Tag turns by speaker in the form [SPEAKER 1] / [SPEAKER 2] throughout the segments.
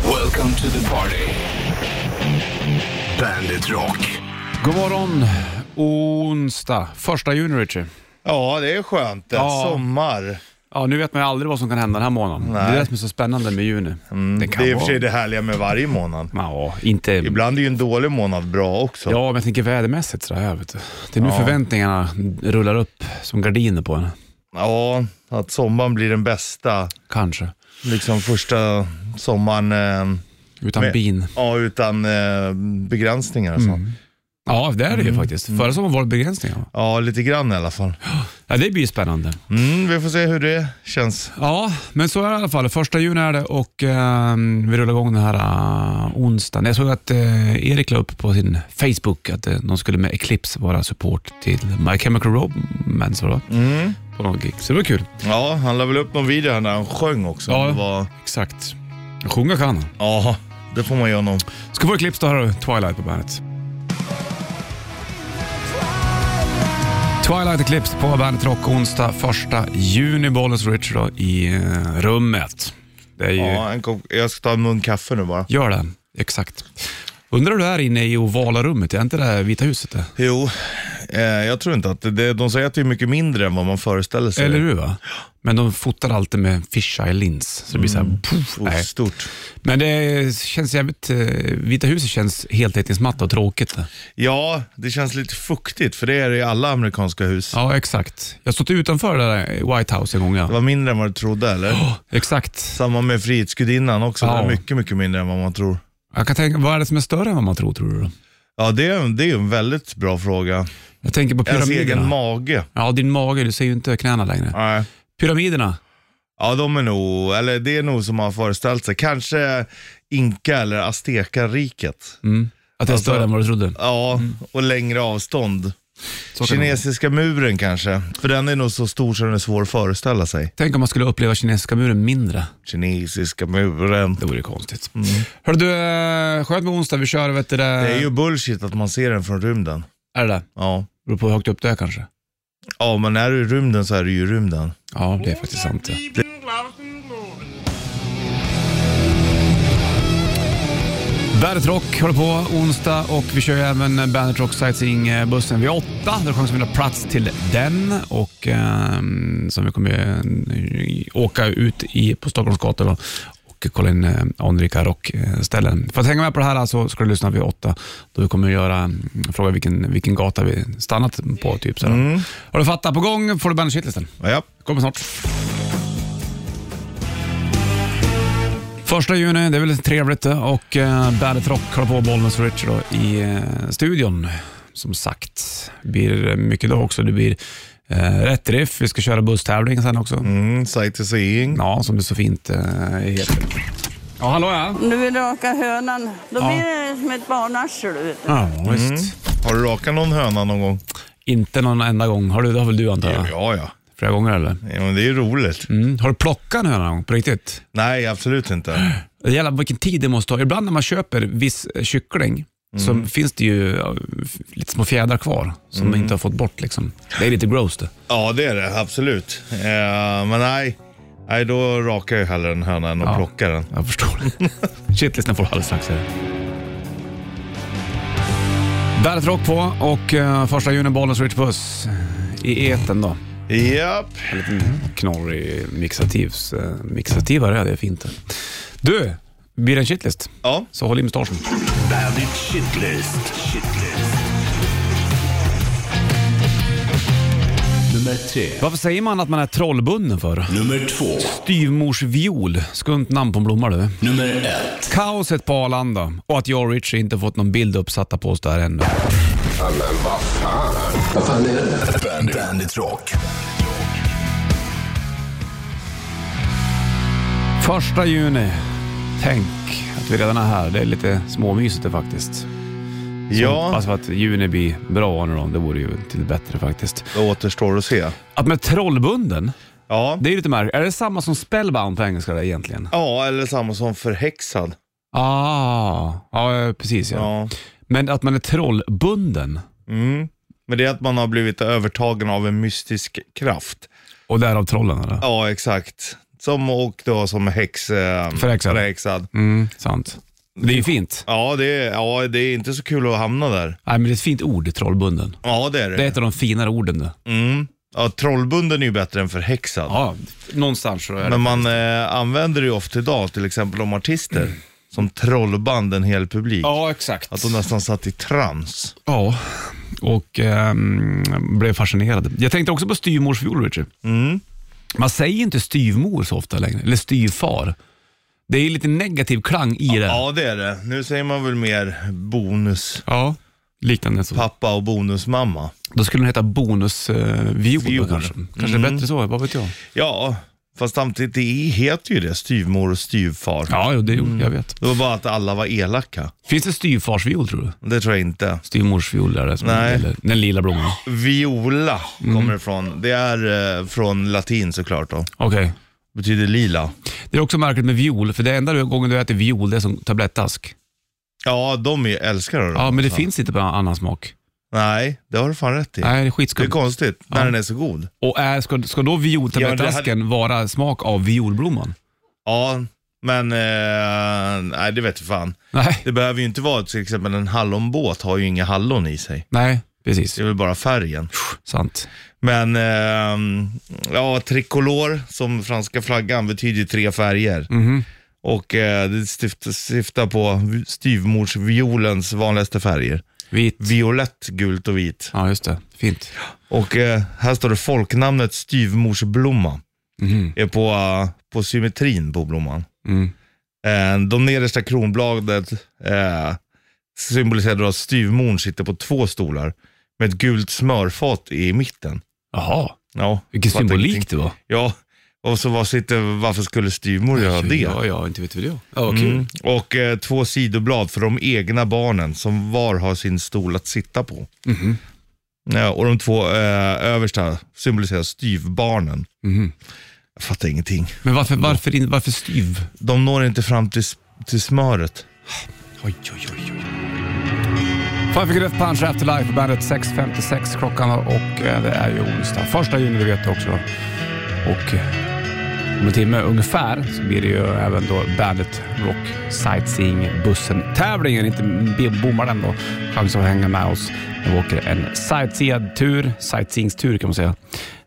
[SPEAKER 1] Welcome to the party. Bandit Rock.
[SPEAKER 2] God morgon, onsdag. Första juni, Richie.
[SPEAKER 3] Ja, det är skönt. Det.
[SPEAKER 2] Ja.
[SPEAKER 3] Sommar.
[SPEAKER 2] Ja, nu vet man ju aldrig vad som kan hända den här månaden.
[SPEAKER 3] Nej. Mm,
[SPEAKER 2] Det är det som är så spännande med juni. det kan
[SPEAKER 3] Det är i och för
[SPEAKER 2] vara...
[SPEAKER 3] sig det härliga med varje månad.
[SPEAKER 2] Ja, inte...
[SPEAKER 3] Ibland är ju en dålig månad bra också.
[SPEAKER 2] Ja, men jag tänker vädermässigt sådär. jag Vet du. Det är nu
[SPEAKER 3] Ja.
[SPEAKER 2] förväntningarna rullar upp som gardiner på en.
[SPEAKER 3] Ja, att sommaren blir den bästa.
[SPEAKER 2] Kanske.
[SPEAKER 3] Liksom första sommaren eh,
[SPEAKER 2] Utan
[SPEAKER 3] Men-
[SPEAKER 2] bin.
[SPEAKER 3] ja, utan eh, begränsningar och så.
[SPEAKER 2] Mm. Ja, det är
[SPEAKER 3] Mm.
[SPEAKER 2] det ju faktiskt. Förra sommaren var det begränsningar. va?
[SPEAKER 3] Ja, lite grann i alla fall.
[SPEAKER 2] Ja, det blir ju spännande.
[SPEAKER 3] Mm, vi får se hur det känns.
[SPEAKER 2] Ja, men så är det i alla fall. Första juni är det och eh, vi rullar igång den här eh, onsdagen. Jag såg att eh, Erik la upp på sin Facebook att eh, de skulle med Eclipse vara support till My Chemical Romance, va?
[SPEAKER 3] Mm.
[SPEAKER 2] På någon gig. Så det var kul.
[SPEAKER 3] Ja, han la väl upp någon video här när han sjöng också.
[SPEAKER 2] Ja.
[SPEAKER 3] Det var,
[SPEAKER 2] Exakt. Sjunga kan han.
[SPEAKER 3] ja det får man ge honom.
[SPEAKER 2] Ska få Eclipse, då har du Twilight på bandet. Twilight Eclipse på Bandet Rock onsdag 1 juni. Bollens Richard då, i eh, rummet. Det är ju...
[SPEAKER 3] Ja, en kopp, jag ska ta en mun kaffe nu bara.
[SPEAKER 2] Gör det, exakt. Undrar hur det är inne i ovala rummet, är inte det här Vita huset det?
[SPEAKER 3] Jo, eh, jag tror inte att det- det, de säger att det är mycket mindre än vad man föreställer sig.
[SPEAKER 2] Eller hur? Va? Men de fotar alltid med fisheye lins, så det blir så här, Mm. puff,
[SPEAKER 3] Oh,
[SPEAKER 2] nej.
[SPEAKER 3] stort.
[SPEAKER 2] Men det känns jävligt, eh, Vita huset känns heltäckningsmatta och tråkigt.
[SPEAKER 3] Ja, det känns lite fuktigt för det är det i alla amerikanska hus.
[SPEAKER 2] Ja, exakt. Jag har stått utanför det där White House en gång.
[SPEAKER 3] Det
[SPEAKER 2] Ja.
[SPEAKER 3] var mindre än vad du trodde eller?
[SPEAKER 2] Exakt.
[SPEAKER 3] Samma med Frihetsgudinnan också.
[SPEAKER 2] Oh. Ja.
[SPEAKER 3] Det är mycket, mycket mindre än vad man tror.
[SPEAKER 2] Jag kan tänka, vad är det som är större än vad man tror, tror du? Då?
[SPEAKER 3] Ja, det är, det är en väldigt bra fråga.
[SPEAKER 2] Jag tänker på
[SPEAKER 3] Ens egen
[SPEAKER 2] pyramiderna.
[SPEAKER 3] mage.
[SPEAKER 2] Ja, din mage, du ser ju inte knäna längre.
[SPEAKER 3] Nej.
[SPEAKER 2] Pyramiderna.
[SPEAKER 3] Ja, de är nog, eller det är nog som man har föreställt sig. Kanske Inka eller Aztekariket.
[SPEAKER 2] Mm. Att det är
[SPEAKER 3] Alltså-
[SPEAKER 2] större än vad du trodde.
[SPEAKER 3] Ja, och längre avstånd.
[SPEAKER 2] Så kan det vara.
[SPEAKER 3] Kinesiska muren kanske. För den är nog så stor så den är svår att föreställa sig.
[SPEAKER 2] Tänk om man skulle uppleva kinesiska muren mindre.
[SPEAKER 3] Kinesiska muren.
[SPEAKER 2] Det vore ju konstigt. Hörru du, eh, skönt med onsdag. Vi kör, vet du det.
[SPEAKER 3] Mm. Det är ju bullshit att man ser den från rymden.
[SPEAKER 2] Är det det?
[SPEAKER 3] Ja.
[SPEAKER 2] Beror på hur högt upp det är kanske.
[SPEAKER 3] Ja, men är du i rymden så är du ju i rymden.
[SPEAKER 2] Ja, det är faktiskt sant. ja. Bandet Rock håller på onsdag och vi kör ju även Bandet Rock Sightseeing-bussen vid åtta. Där chans att vinna plats till den och ehm, som vi kommer eh, åka ut i, på Stockholms gator då, och kolla in eh, anrika rockställen. För att hänga med på det här så ska du lyssna vid åtta då vi kommer göra, mm, fråga vilken, vilken gata vi stannat på. Typ, så här. Har du fattat? På gång får du Bandet Shitlisten.
[SPEAKER 3] Ja.
[SPEAKER 2] Kommer snart. Första juni, det är väl trevligt det. och eh, Bandet Rock håller på Bollnäs och Richard då, i eh, studion. Som sagt, blir mycket då också. Det blir eh, rätt riff, vi ska köra busstävling sen också.
[SPEAKER 3] Mm, sightseeing.
[SPEAKER 2] Ja, som det så fint eh, heter. Ja, hallå ja.
[SPEAKER 4] Om du vill raka hönan, då blir det som ett barnarsel. du vet.
[SPEAKER 2] Ja, visst.
[SPEAKER 3] Har du rakat någon höna någon gång?
[SPEAKER 2] Inte någon enda gång. Har du, det har väl du antar jag?
[SPEAKER 3] Ja, ja.
[SPEAKER 2] Flera gånger eller?
[SPEAKER 3] ja men det är ju roligt.
[SPEAKER 2] Mm. Har du plockat någon gång på riktigt?
[SPEAKER 3] Nej, absolut inte.
[SPEAKER 2] Det gäller vilken tid det måste ta. Ibland när man köper viss eh, kyckling så finns det ju ja, f- lite små fjädrar kvar som man inte har fått bort. Liksom. Det är lite gross det.
[SPEAKER 3] Ja, det är det. Absolut. Eh, men nej. Nej, då rakar jag hellre en höna än att
[SPEAKER 2] Ja.
[SPEAKER 3] plocka den.
[SPEAKER 2] Jag förstår. Shitlisten får du alldeles strax. här. Bandet Rock på och eh, första juni Bollens Rich Puss i eten då.
[SPEAKER 3] Japp.
[SPEAKER 2] En liten knorrig mixativs, eh, mixativare, det är fint. det. Du, blir det en shitlist?
[SPEAKER 3] Ja.
[SPEAKER 2] Så håll i mustaschen.
[SPEAKER 1] Bandit Shitlist. Shitlist. Nummer tre.
[SPEAKER 2] Varför säger man att man är trollbunden för?
[SPEAKER 1] Nummer två.
[SPEAKER 2] Styvmorsviol. Skumt namn på en blomma du.
[SPEAKER 1] Nummer ett.
[SPEAKER 2] Kaoset på Arlanda och att jag och Richie inte fått någon bild uppsatta på oss där ännu.
[SPEAKER 1] Bandit, Bandit Rock.
[SPEAKER 2] Första juni. Tänk att vi redan är här. Det är lite småmysigt det faktiskt.
[SPEAKER 3] Ja,
[SPEAKER 2] Hoppas att juni blir bra nu då. Det vore ju till det bättre faktiskt.
[SPEAKER 3] det återstår att se.
[SPEAKER 2] Att med trollbunden,
[SPEAKER 3] Ja.
[SPEAKER 2] det är ju lite märkligt. Är det samma som spellbound på engelska där egentligen?
[SPEAKER 3] Ja, eller samma som förhäxad.
[SPEAKER 2] Ah, ja precis ja.
[SPEAKER 3] Ja.
[SPEAKER 2] Men att man är trollbunden
[SPEAKER 3] Mm. Men det är att man har blivit övertagen av en mystisk kraft.
[SPEAKER 2] och därav trollen eller?
[SPEAKER 3] Ja, exakt. Som och då som häx, eh,
[SPEAKER 2] Förhäxad.
[SPEAKER 3] förhäxad.
[SPEAKER 2] Mm, sant. Det är ju fint.
[SPEAKER 3] Ja det, är, ja, det är inte så kul att hamna där.
[SPEAKER 2] Nej, men det är ett fint ord, trollbunden.
[SPEAKER 3] Ja, det är det.
[SPEAKER 2] Det är ett av de finare orden. det.
[SPEAKER 3] Ja, trollbunden är ju bättre än förhäxad.
[SPEAKER 2] Mm. Ja, någonstans så är det.
[SPEAKER 3] Men man eh, använder det ju ofta idag, till exempel om artister, som trollband en hel publik.
[SPEAKER 2] Ja, exakt.
[SPEAKER 3] Att de nästan satt i trans.
[SPEAKER 2] Ja, och ehm, blev fascinerad. Jag tänkte också på styvmorsfiol, Richard. Man säger inte styvmor så ofta längre, eller styvfar. Det är lite negativ klang i det.
[SPEAKER 3] Ja, det är det. Nu säger man väl mer bonus.
[SPEAKER 2] Ja, liknande så.
[SPEAKER 3] Pappa och bonusmamma.
[SPEAKER 2] Då skulle den heta bonusviol
[SPEAKER 3] Viol.
[SPEAKER 2] kanske. Mm. Kanske det är bättre så, vad vet jag?
[SPEAKER 3] Ja, fast samtidigt, det heter ju det, styvmor och styvfar.
[SPEAKER 2] Ja, jo, det gjorde jag vet.
[SPEAKER 3] Det var bara att alla var elaka.
[SPEAKER 2] Finns det styvfarsviol tror du?
[SPEAKER 3] Det tror jag inte.
[SPEAKER 2] Styvmorsviol är det som
[SPEAKER 3] Nej.
[SPEAKER 2] Eller, den lila blomman.
[SPEAKER 3] Viola
[SPEAKER 2] Mm.
[SPEAKER 3] kommer ifrån. Det är eh, från latin såklart då.
[SPEAKER 2] Okej.
[SPEAKER 3] Betyder lila.
[SPEAKER 2] Det är också märkligt med viol, för det enda du- gången du äter viol det är som tablettask.
[SPEAKER 3] Ja, de är älskare då.
[SPEAKER 2] Ja, men det finns inte på annan smak.
[SPEAKER 3] Nej, det har du fan rätt i.
[SPEAKER 2] Nej, det är
[SPEAKER 3] Det är
[SPEAKER 2] skitskumt.
[SPEAKER 3] konstigt när den är så god.
[SPEAKER 2] Och är, ska, ska då violtablettasken vara smak av violblomman?
[SPEAKER 3] Ja, men eh, nej det vet du fan.
[SPEAKER 2] Nej,
[SPEAKER 3] Det behöver ju inte vara till exempel en hallonbåt har ju inga hallon i sig.
[SPEAKER 2] nej precis.
[SPEAKER 3] Det är väl bara färgen.
[SPEAKER 2] Sant.
[SPEAKER 3] Men eh, ja, tricolor som franska flaggan betyder ju tre färger.
[SPEAKER 2] Mhm.
[SPEAKER 3] Och eh, det syftar, syftar på styvmorsviolens vanligaste färger.
[SPEAKER 2] Vit.
[SPEAKER 3] Violett, gult och vit.
[SPEAKER 2] Ja, just det. Fint.
[SPEAKER 3] Och eh, här står det folknamnet styvmorsblomma. Är på, eh, på symmetrin på blomman.
[SPEAKER 2] Mhm. Mm.
[SPEAKER 3] Eh, de nedersta kronbladet eh, symboliserar då att styvmorn sitter på två stolar med ett gult smörfat i mitten.
[SPEAKER 2] Jaha,
[SPEAKER 3] Ja,
[SPEAKER 2] vilken
[SPEAKER 3] fattar
[SPEAKER 2] symbolik
[SPEAKER 3] ingenting.
[SPEAKER 2] det var.
[SPEAKER 3] Ja, och så var sitter, varför skulle styvmor göra det?
[SPEAKER 2] Ja, ja, inte vet vi det. Ja, vad kul.
[SPEAKER 3] Mm. Och eh, två sidoblad för de egna barnen som var har sin stol att sitta på. Ja, och de två eh, översta symboliserar styvbarnen. Jag fattar ingenting.
[SPEAKER 2] Men varför, varför, in- varför styv?
[SPEAKER 3] De når inte fram till, s- till smöret.
[SPEAKER 2] Oj, oj, oj, oj. Five Finger Death Punch Afterlife på bandet 6.56 klockan och eh, det är ju onsdag. Första juni, vi vet det också. då. Och eh, om en timme ungefär så blir det ju även då bandet Rock Sightseeing Bussen-tävlingen. Inte b- bommar den då. Chans att hänga med oss när vi åker en sightseeing-tur, sightseeing-tur kan man säga.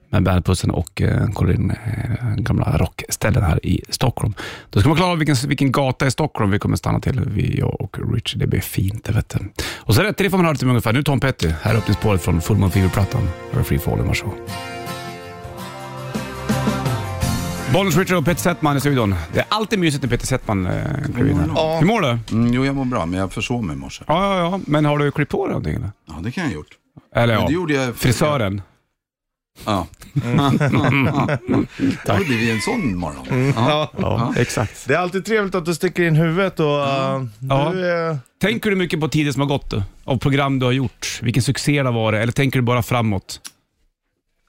[SPEAKER 2] Med bandet Bussen och eh, kollar in eh, gamla rockställen här i Stockholm. Då ska man klara av vilken, vilken gata i Stockholm vi kommer stanna till, vi, jag och Richie. Det blir fint, det vet du. Och så rätt till det får man höra till ungefär. Nu Tom Petty, här är öppningsspåret från Full Moon Fever-plattan. Här är Free Falling, varsågod. Bollens Richard och Peter Settman i studion. Det är alltid mysigt när Peter Settman eh, kliver in här. Hur mår du?
[SPEAKER 5] Mm, jo, jag mår bra, men jag försov mig i morse.
[SPEAKER 2] Ja, ja, ja. Men har du klippt på dig någonting eller?
[SPEAKER 5] Ja, det kan jag ha gjort.
[SPEAKER 2] Eller
[SPEAKER 5] Men
[SPEAKER 2] ja,
[SPEAKER 5] det gjorde jag...
[SPEAKER 2] frisören.
[SPEAKER 5] Ja. Det har blivit en sån morgon.
[SPEAKER 3] Ja.
[SPEAKER 2] Ja, exakt.
[SPEAKER 3] Det är alltid trevligt att du sticker in huvudet och eh,
[SPEAKER 2] Ja.
[SPEAKER 3] du är...
[SPEAKER 2] Tänker du mycket på tiden som har gått då? Av program du har gjort? Vilken succé det har varit? Eller tänker du bara framåt?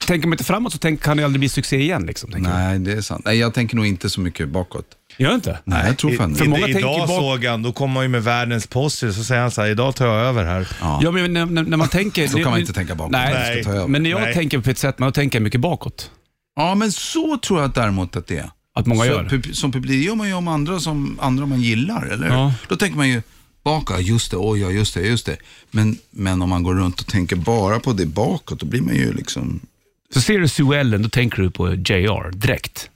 [SPEAKER 2] Tänker man inte framåt så tänk, kan det aldrig bli succé igen. Liksom, tänker jag.
[SPEAKER 5] Nej, det är sant. Nej, jag tänker nog inte så mycket bakåt.
[SPEAKER 2] Gör du inte?
[SPEAKER 5] Nej, jag tror fan
[SPEAKER 3] I-
[SPEAKER 5] det.
[SPEAKER 2] För många
[SPEAKER 3] i-
[SPEAKER 2] tänker bak-
[SPEAKER 3] idag såg han, då kom han ju med världens poster så säger han så här, idag tar jag över här.
[SPEAKER 5] Ja.
[SPEAKER 2] Ja, men när, när, när man tänker...
[SPEAKER 5] Så kan man inte tänka bakåt.
[SPEAKER 2] Nej,
[SPEAKER 5] Jag ska ta över.
[SPEAKER 2] men när jag
[SPEAKER 3] Nej.
[SPEAKER 2] tänker på Peter Settman, då tänker jag mycket bakåt.
[SPEAKER 5] Ja, men så tror jag däremot att det är.
[SPEAKER 2] Att många
[SPEAKER 5] så,
[SPEAKER 2] gör.
[SPEAKER 5] pub- Som publik, det gör man ju om andra som andra man gillar, eller
[SPEAKER 2] Ja.
[SPEAKER 5] Då tänker man ju baka, just det, oj, ja, just det, just det. Men, men om man går runt och tänker bara på det bakåt, då blir man ju liksom...
[SPEAKER 2] Så ser du Sue Ellen, då tänker du på JR direkt.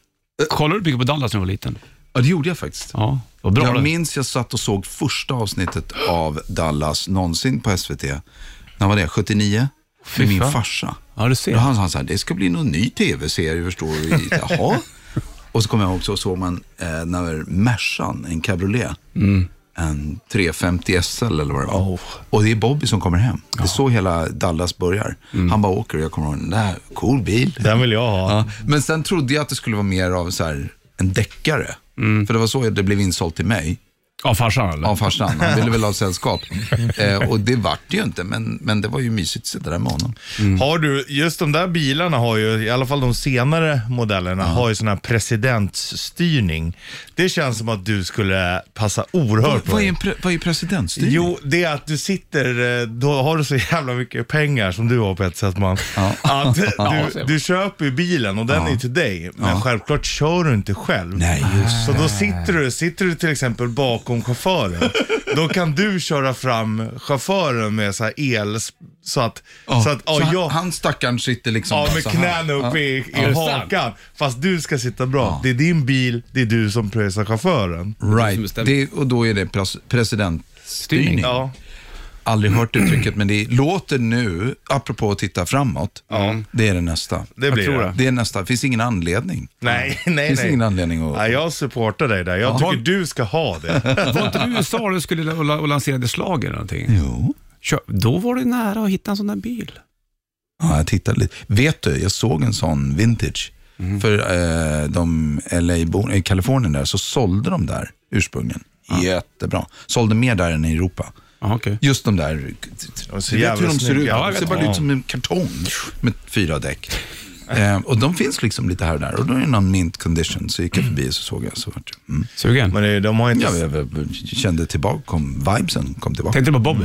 [SPEAKER 2] Kollade du mycket på Dallas när du var liten?
[SPEAKER 5] Ja, det gjorde jag faktiskt.
[SPEAKER 2] Ja, vad bra det.
[SPEAKER 5] Jag minns jag satt och såg första avsnittet av Dallas någonsin på SVT. När var det? 79? Med min
[SPEAKER 2] fan.
[SPEAKER 5] farsa.
[SPEAKER 2] Ja, du ser.
[SPEAKER 5] Då han sa så här, det ska bli någon ny tv-serie förstår du. Jaha. och så kom jag också och såg man eh, när Mercan, en cabriolet,
[SPEAKER 2] Mm.
[SPEAKER 5] en 350 SL eller vad det var. Och det är Bobby som kommer hem. Det är så hela Dallas börjar.
[SPEAKER 2] Mm.
[SPEAKER 5] Han bara åker och jag kommer ihåg, den där, cool bil.
[SPEAKER 3] Den vill jag ha.
[SPEAKER 5] Ja, men sen trodde jag att det skulle vara mer av så här, en deckare.
[SPEAKER 2] Mm.
[SPEAKER 5] För det var så det blev insålt till mig
[SPEAKER 2] Av farsan eller?
[SPEAKER 5] av farsan. Han ville väl ha sällskap. Eh, och det vart det ju inte, men, men det var ju mysigt att sitta där med honom.
[SPEAKER 3] Har du, just de där bilarna har ju, i alla fall de senare modellerna, har ju sån här presidentsstyrning. Det känns som att du skulle passa oerhört
[SPEAKER 5] Vad
[SPEAKER 3] bra.
[SPEAKER 5] är, en pre- vad är presidentstyrning?
[SPEAKER 3] Jo, det är att du sitter, eh, då har du så jävla mycket pengar som du har på ett sätt man. Att du, du köper ju bilen och den är ju till dig, men självklart kör du inte själv.
[SPEAKER 5] Nej, just
[SPEAKER 3] Så då sitter du, sitter du till exempel bakom bakom-chauffören, då kan du köra fram chauffören med så här el, så att, så att, ja,
[SPEAKER 5] han-
[SPEAKER 3] jag,
[SPEAKER 5] Han stackaren sitter liksom
[SPEAKER 3] ja,
[SPEAKER 5] bara
[SPEAKER 3] med
[SPEAKER 5] så här.
[SPEAKER 3] knäna uppe i, i
[SPEAKER 2] Är det
[SPEAKER 3] hakan. Fast du ska sitta bra. Det är din bil, det är du som pröjsar chauffören.
[SPEAKER 2] som
[SPEAKER 5] Right,
[SPEAKER 2] bestämmer.
[SPEAKER 5] det, och då är det pres, presidentstyrning.
[SPEAKER 3] Ja.
[SPEAKER 5] Aldrig hört uttrycket, men det låter nu, apropå att titta framåt, det är det nästa.
[SPEAKER 3] Det blir
[SPEAKER 2] tror
[SPEAKER 3] det.
[SPEAKER 2] det.
[SPEAKER 5] Det är nästa, det finns ingen anledning.
[SPEAKER 3] Nej, nej, nej.
[SPEAKER 5] finns ingen anledning att-
[SPEAKER 3] Nej, jag supportar dig där. Jag tycker du ska ha det.
[SPEAKER 2] Var inte du i USA och du skulle och la- och lanserade slag eller någonting?
[SPEAKER 5] Jo.
[SPEAKER 2] Kör. Då var du nära att hitta en sån där bil.
[SPEAKER 5] Ja, jag tittade lite. Vet du, jag såg en sån vintage.
[SPEAKER 3] Mm.
[SPEAKER 5] För eh, de LA-borna i Kalifornien där, så sålde de där ursprungligen. Jättebra. Sålde mer där än i Europa.
[SPEAKER 2] Ja, okej.
[SPEAKER 5] Just de där,
[SPEAKER 3] De ser
[SPEAKER 5] du vet hur
[SPEAKER 3] jävligt
[SPEAKER 5] de ser
[SPEAKER 3] snygga
[SPEAKER 5] ut.
[SPEAKER 3] ut. Ja, jag
[SPEAKER 5] De
[SPEAKER 3] vet.
[SPEAKER 5] ser bara
[SPEAKER 3] Ja.
[SPEAKER 5] ut som en kartong med fyra däck. eh, och de finns liksom lite här och där. Och då är det någon mint condition. Så gick jag förbi och så såg jag. Så vart jag, mm.
[SPEAKER 2] Sugen?
[SPEAKER 3] Men det, de har inte...
[SPEAKER 5] jag, jag, jag kände tillbaka, kom, vibesen kom tillbaka.
[SPEAKER 2] Tänkte du på Bobby?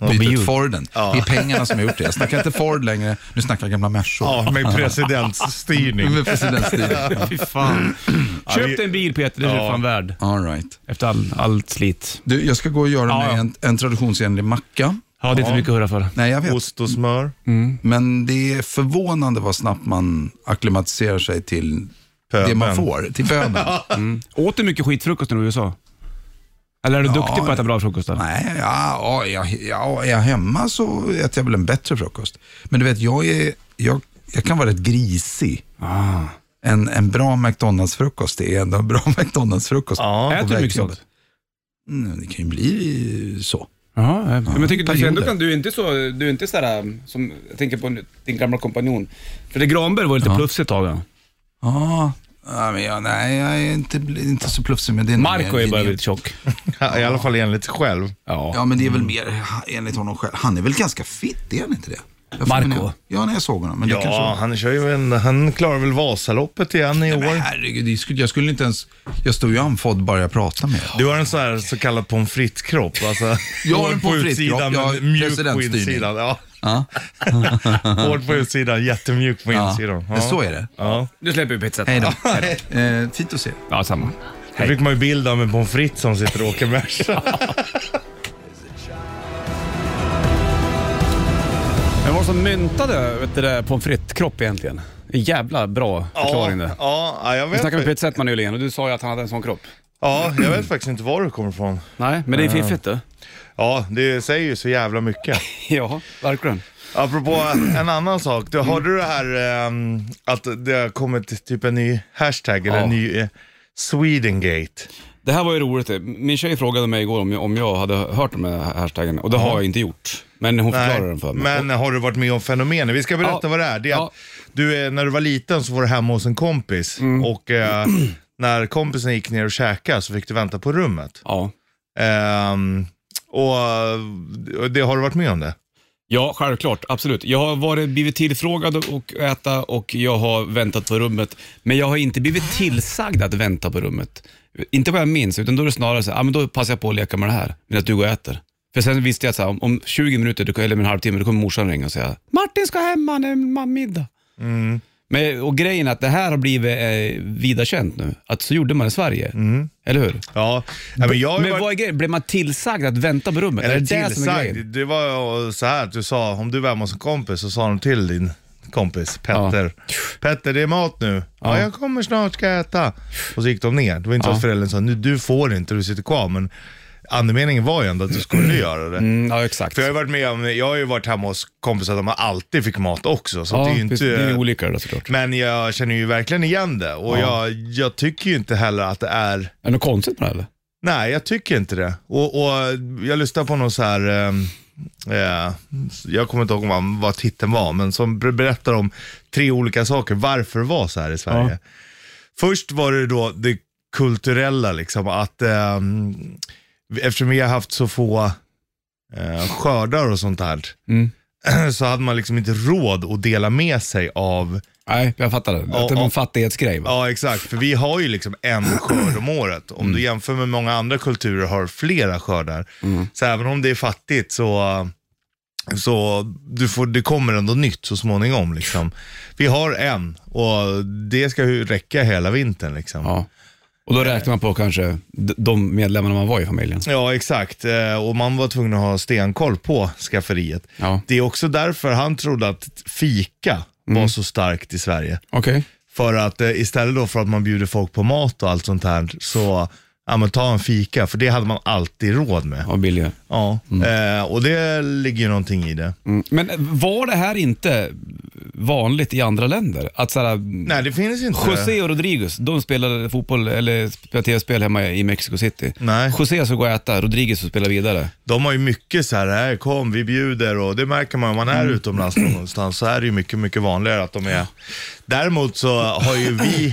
[SPEAKER 5] Byt ut Forden. Det är pengarna som har gjort det. Jag snackar inte Ford längre, nu snackar jag gamla Mercor.
[SPEAKER 3] Ja, med presidentsstyrning.
[SPEAKER 5] Med presidentstil.
[SPEAKER 2] Fy fan.
[SPEAKER 3] vi-
[SPEAKER 2] Köp dig en bil Peter, det är du fan värd.
[SPEAKER 5] All right.
[SPEAKER 2] Efter all- allt slit.
[SPEAKER 5] Du, jag ska gå och göra
[SPEAKER 2] Ja,
[SPEAKER 5] mig
[SPEAKER 2] ja.
[SPEAKER 5] en, en traditionsenlig macka.
[SPEAKER 2] Ja, det är inte mycket att hurra för.
[SPEAKER 5] Nej, jag vet. Mm.
[SPEAKER 3] Ost och smör.
[SPEAKER 5] Men det är förvånande vad snabbt man akklimatiserar sig till det
[SPEAKER 3] Pöbeln.
[SPEAKER 5] man får, till pöbeln.
[SPEAKER 2] Åt du mycket skitfrukost när du var i USA? Eller är du duktig på att äta bra frukost? Då?
[SPEAKER 5] Nej, ja, ja, ja, ja, är jag hemma så äter jag väl en bättre frukost. Men du vet, jag, är, jag, jag kan vara rätt grisig.
[SPEAKER 2] Ah.
[SPEAKER 5] En, en bra McDonalds-frukost det är ändå en bra McDonalds-frukost.
[SPEAKER 3] Ja.
[SPEAKER 5] på
[SPEAKER 2] Äter du
[SPEAKER 5] väg
[SPEAKER 2] mycket
[SPEAKER 5] till
[SPEAKER 2] sånt?
[SPEAKER 5] jobbet. Mm, det kan ju bli så.
[SPEAKER 2] Ja, eh, men jag tycker
[SPEAKER 5] perioder.
[SPEAKER 2] du, ändå kan, du är inte så, du är inte sådär, som, jag tänker på din gamla kompanjon. För det Granberg var lite plufsig ett tag.
[SPEAKER 5] Ja, ja, men jag, nej, jag är inte, inte så plufsig. Men det är nog
[SPEAKER 2] Marco
[SPEAKER 5] mer
[SPEAKER 2] är bara
[SPEAKER 5] genet-
[SPEAKER 2] lite tjock.
[SPEAKER 3] I alla fall enligt sig själv.
[SPEAKER 2] Ja.
[SPEAKER 5] Ja, men det är väl mer enligt honom själv. Han är väl ganska fitt, är han inte det? Jag får-
[SPEAKER 2] Marco?
[SPEAKER 5] Ja, när jag såg honom. Men det kanske
[SPEAKER 3] Ja,
[SPEAKER 5] var...
[SPEAKER 3] han, kör ju en, han klarar väl Vasaloppet igen i
[SPEAKER 5] Men
[SPEAKER 3] år.
[SPEAKER 5] herregud, det skulle- jag skulle inte ens... Jag stod ju andfådd bara jag pratade med
[SPEAKER 3] Du har en så här så kallad pommes frites-kropp. Alltså,
[SPEAKER 5] Jag har
[SPEAKER 3] hård
[SPEAKER 5] en pommes frites-kropp,
[SPEAKER 3] utsidan,
[SPEAKER 5] jag har
[SPEAKER 3] men mjuk på
[SPEAKER 5] presidentstyrning.
[SPEAKER 3] insidan. Ja.
[SPEAKER 5] Ja.
[SPEAKER 3] Hård på utsidan, jättemjuk på insidan. Ja.
[SPEAKER 5] men så är det.
[SPEAKER 3] Ja.
[SPEAKER 2] Nu släpper vi pizzan.
[SPEAKER 5] Hej då. eh, fint att se.
[SPEAKER 2] Ja, samma.
[SPEAKER 3] Det fick man ju bild av en pommes frites som sitter och åker bärs.
[SPEAKER 2] Vem var det som myntade vet du, det där pommes frites-kropp egentligen? En jävla bra förklaring det.
[SPEAKER 3] ja, ja, jag
[SPEAKER 2] Vi
[SPEAKER 3] vet.
[SPEAKER 2] snackade med Pizzetman nyligen och du sa ju att han hade en sån kropp.
[SPEAKER 3] Ja, jag vet faktiskt inte var du kommer ifrån.
[SPEAKER 2] Nej, men det är fiffigt du.
[SPEAKER 3] Ja, det säger ju så jävla mycket.
[SPEAKER 2] Ja, verkligen.
[SPEAKER 3] Apropå en annan sak. Du, hörde du det här ehm, att det har kommit typ en ny hashtag eller en ny eh, Swedengate?
[SPEAKER 2] Det här var ju roligt. det. Min tjej frågade mig igår om jag, om jag hade hört om den här hashtaggen och det har jag inte gjort. Men hon
[SPEAKER 3] Nej,
[SPEAKER 2] förklarade den för mig.
[SPEAKER 3] Men har du varit med om fenomenet? Vi ska berätta
[SPEAKER 2] Ja.
[SPEAKER 3] vad det är. Det är
[SPEAKER 2] Ja.
[SPEAKER 3] att du, eh, när du var liten så var du hemma hos en kompis
[SPEAKER 2] Mm.
[SPEAKER 3] och eh, när kompisen gick ner och käkade så fick du vänta på rummet.
[SPEAKER 2] Ja.
[SPEAKER 3] Ehm, och eh, det, har du varit med om det?
[SPEAKER 2] Ja, självklart. Absolut. Jag har varit, blivit tillfrågad och- och äta och jag har väntat på rummet. Men jag har inte blivit tillsagd att vänta på rummet. Inte vad jag minns, utan då är det snarare så här, ah, men då passar jag på att leka med det här, medan du går och äter. För sen visste jag att så här, om- om 20 minuter, du- eller en halvtimme, då kommer morsan ringa och säga, Martin ska hem, han är ma- middag.
[SPEAKER 3] Mm.
[SPEAKER 2] Men, och grejen är att det här har blivit eh, vida känt nu, att så gjorde man i Sverige. Eller hur?
[SPEAKER 3] Ja. Nej, men jag Mm. har
[SPEAKER 2] Men
[SPEAKER 3] ju varit-
[SPEAKER 2] vad är grejen? Blev man tillsagd att vänta på rummet? är
[SPEAKER 3] Eller
[SPEAKER 2] det det som är
[SPEAKER 3] tillsagd.
[SPEAKER 2] grejen?
[SPEAKER 3] Det var ju så här att du sa, om du var hemma hos en kompis så sa de till din kompis Petter. Petter, det är mat nu. Ja. jag kommer snart, ska jag äta. Och så gick de ner. Det var inte så att föräldern sa, nu, du får inte, du sitter kvar. Men andemeningen var ju ändå att du skulle göra det.
[SPEAKER 2] Mm, ja, exakt.
[SPEAKER 3] För jag har ju varit med om, jag har ju varit hemma hos kompisar där man alltid fick mat också. Så
[SPEAKER 2] Ja,
[SPEAKER 3] det är ju
[SPEAKER 2] precis. det är ju
[SPEAKER 3] inte...
[SPEAKER 2] olika det där såklart.
[SPEAKER 3] Men jag känner ju verkligen igen det och jag, jag tycker ju inte heller att det är
[SPEAKER 2] Är det något konstigt med det eller?
[SPEAKER 3] Nej, jag tycker inte det. Och, och jag lyssnade på någon så här, ehm, eh, jag kommer inte ihåg vad, vad titeln var, men som ber- berättar om tre olika saker, varför det var så här i Sverige. Först var det då det kulturella, liksom att ehm, eftersom vi har haft så få eh, skördar och sånt här, så hade man liksom inte råd att dela med sig av
[SPEAKER 2] Nej, jag fattar det.
[SPEAKER 3] Ja,
[SPEAKER 2] att det var
[SPEAKER 3] ja.
[SPEAKER 2] en fattighetsgrej va?
[SPEAKER 3] Ja, exakt. För vi har ju liksom en skörd om året. Om
[SPEAKER 2] Mm.
[SPEAKER 3] du jämför med många andra kulturer har flera skördar.
[SPEAKER 2] Mm.
[SPEAKER 3] Så även om det är fattigt så, så du får, det kommer ändå nytt så småningom. Liksom. Vi har en och det ska ju räcka hela vintern. Liksom.
[SPEAKER 2] Ja. Och då räknar man på kanske d- de medlemmarna man var i familjen.
[SPEAKER 3] Ja, exakt. Eh, Och man var tvungen att ha stenkoll på skafferiet.
[SPEAKER 2] Ja.
[SPEAKER 3] Det är också därför han trodde att fika
[SPEAKER 2] Mm.
[SPEAKER 3] var så starkt i Sverige.
[SPEAKER 2] Okej.
[SPEAKER 3] För att eh, istället då för att man bjuder folk på mat och allt sånt här, så ja, men ta en fika, för det hade man alltid råd med.
[SPEAKER 2] Ja, billigare.
[SPEAKER 3] Ja, eh, och det ligger ju någonting i det.
[SPEAKER 2] Mm. Men var det här inte vanligt i andra länder? Att så här, mm,
[SPEAKER 3] Nej, det finns inte.
[SPEAKER 2] José och Rodriguez, de spelade fotboll, eller spelade tv-spel hemma i Mexico City.
[SPEAKER 3] Nej.
[SPEAKER 2] José så går och äta, Rodriguez så spelar vidare.
[SPEAKER 3] De har ju mycket så här, här, kom vi bjuder och det märker man om man är
[SPEAKER 2] Mm.
[SPEAKER 3] utomlands någonstans så är det ju mycket, mycket vanligare att de är. Däremot så har ju vi,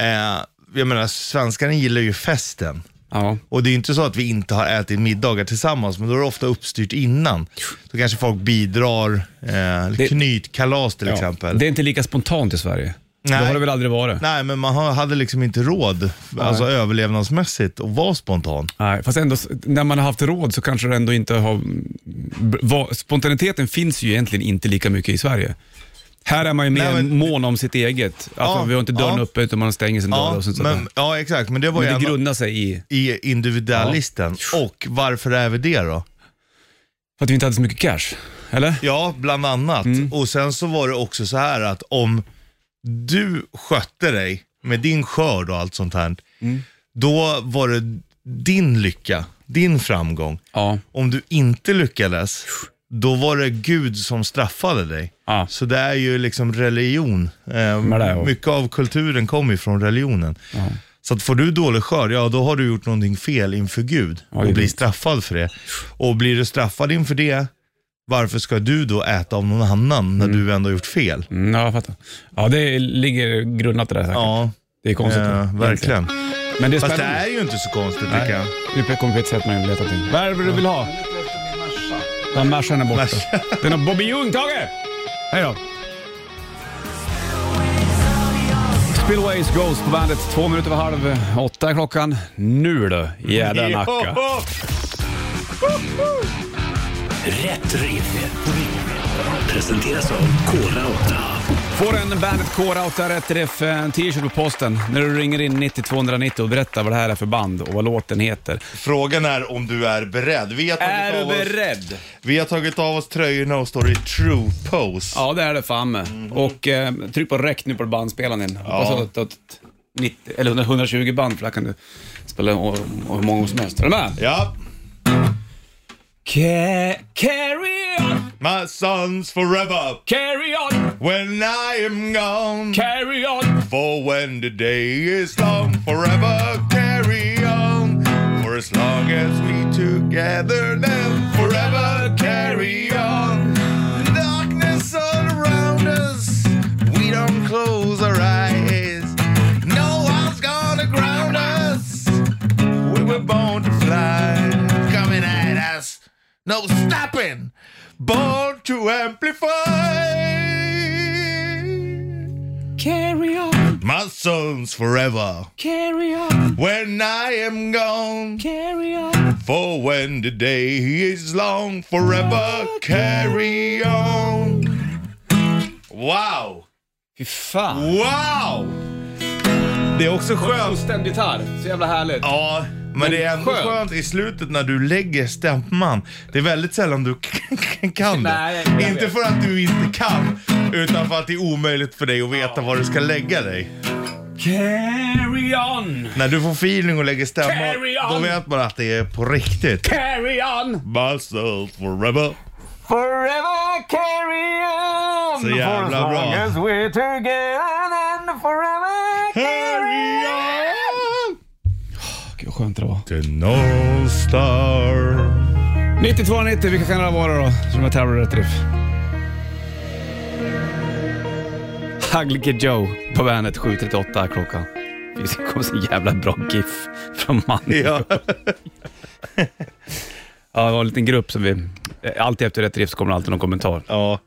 [SPEAKER 3] eh, jag menar svenskarna gillar ju festen.
[SPEAKER 2] Ja.
[SPEAKER 3] Och det är ju inte så att vi inte har ätit middagar tillsammans, men då är det ofta uppstyrt innan. Då kanske folk bidrar, eh,
[SPEAKER 2] Det-
[SPEAKER 3] knytkalas till exempel.
[SPEAKER 2] Det är inte lika spontant i Sverige. Nej. Det
[SPEAKER 3] Nej.
[SPEAKER 2] har det väl aldrig varit?
[SPEAKER 3] Nej, men man har- hade liksom inte råd, alltså överlevnadsmässigt, att vara spontan.
[SPEAKER 2] Nej, fast ändå, när man har haft råd så kanske det ändå inte har... mm, b- va- Spontaniteten finns ju egentligen inte lika mycket i Sverige. Här är man ju mer
[SPEAKER 3] Nej, men-
[SPEAKER 2] mån om sitt eget. Alltså,
[SPEAKER 3] Ja,
[SPEAKER 2] vi har inte dörren
[SPEAKER 3] ja.
[SPEAKER 2] uppe utan man stänger sin dörr
[SPEAKER 3] Ja,
[SPEAKER 2] och sånt men,
[SPEAKER 3] men,
[SPEAKER 2] men
[SPEAKER 3] ja, exakt. Men det var ju
[SPEAKER 2] det
[SPEAKER 3] en-
[SPEAKER 2] grundar sig i...
[SPEAKER 3] i individualisten. Och varför är vi det då?
[SPEAKER 2] För att vi inte hade så mycket cash, eller?
[SPEAKER 3] Ja, bland annat. Och sen så var det också så här att om du skötte dig med din skörd och allt sånt här, då var det din lycka, din framgång.
[SPEAKER 2] Ja.
[SPEAKER 3] Om du inte lyckades, då var det Gud som straffade dig.
[SPEAKER 2] Ja.
[SPEAKER 3] Så det är ju liksom religion. Eh,
[SPEAKER 2] Men det är-
[SPEAKER 3] mycket av kulturen kommer ju från religionen. Så att får du dålig skörd, ja då har du gjort någonting fel inför Gud
[SPEAKER 2] det är
[SPEAKER 3] och blir
[SPEAKER 2] sant.
[SPEAKER 3] straffad för det. Och blir du straffad inför det, varför ska du då äta av någon annan när du ändå har gjort fel?
[SPEAKER 2] Mm, ja, jag fattar. Ja, det ligger grundat det där säkert.
[SPEAKER 3] Ja,
[SPEAKER 2] Det är konstigt.
[SPEAKER 3] eh, verkligen.
[SPEAKER 2] Men det är
[SPEAKER 3] Fast det
[SPEAKER 2] spännande.
[SPEAKER 3] är ju inte så konstigt tycker jag.
[SPEAKER 2] Nu kommer vi ett sätt man letar till. Vad är det du vill ha? Ja, Mercan är borta.
[SPEAKER 3] Mercan.
[SPEAKER 2] Den har Bobby Ljung, Tage! Hej då! Spillways Ghost på bandet. Två minuter över halv åtta är klockan. Nu då, jädra nacka.
[SPEAKER 3] Joho!
[SPEAKER 1] Rätt riff. Presenteras av Kora 8.
[SPEAKER 2] Får en Bandet K-Rout där rätt träff, en t-shirt på posten när du ringer in 90290 och berättar vad det här är för band och vad låten heter.
[SPEAKER 3] Frågan är om du är beredd. Vi har tagit,
[SPEAKER 2] Är du
[SPEAKER 3] av, oss,
[SPEAKER 2] beredd?
[SPEAKER 3] vi har tagit av oss tröjorna och står i true pose.
[SPEAKER 2] Ja, det är det fan med. Och eh, tryck på räck nu på bandspelaren din. Hoppas att du har ett 90, eller 120 band, för där kan du spela och, och hur många som helst. Är du med?
[SPEAKER 3] Ja.
[SPEAKER 2] Ca- carry on,
[SPEAKER 3] My sons forever
[SPEAKER 2] carry on,
[SPEAKER 3] when I am gone.
[SPEAKER 2] carry on.
[SPEAKER 3] For when the day is long, forever carry on. For as long as we together, then forever carry on. The darkness all around us, we don't close our eyes. No one's gonna ground us. We were born to fly, coming at us, no stopping. Born to amplify.
[SPEAKER 2] Carry on,
[SPEAKER 3] My son's forever
[SPEAKER 2] carry on,
[SPEAKER 3] when I am gone.
[SPEAKER 2] carry on.
[SPEAKER 3] For when the day is long, forever carry on. Wow!
[SPEAKER 2] Fy fan.
[SPEAKER 3] Wow! Det är också skönt.
[SPEAKER 2] Ostämd gitarr, så jävla härligt.
[SPEAKER 3] Ja, men det är ändå
[SPEAKER 2] Skönt.
[SPEAKER 3] skönt i slutet när du lägger stämman. Det är väldigt sällan du kan det.
[SPEAKER 2] Nej, jag vet.
[SPEAKER 3] inte för att du inte kan, utan för att det är omöjligt för dig att veta var du ska lägga dig.
[SPEAKER 2] Carry on,
[SPEAKER 3] När du får feeling och lägger
[SPEAKER 2] Carry
[SPEAKER 3] stämman,
[SPEAKER 2] on.
[SPEAKER 3] då vet man att det är på riktigt.
[SPEAKER 2] carry on,
[SPEAKER 3] Myself forever.
[SPEAKER 2] forever carry on.
[SPEAKER 3] Så jävla bra.
[SPEAKER 2] We're together and forever
[SPEAKER 3] Carry on
[SPEAKER 2] Gud vad skönt det var.
[SPEAKER 3] to North Star.
[SPEAKER 2] 9290, vilka kan det vara då? Som jag tävlar rätt riff. Hugly Kid Joe på bandet 7.38 är klockan. Det kom så jävla bra GIF från man.
[SPEAKER 3] Ja.
[SPEAKER 2] Ja, det var en liten grupp som vi... eh, Alltid efter rätt riff så kommer det alltid någon kommentar.
[SPEAKER 3] ja.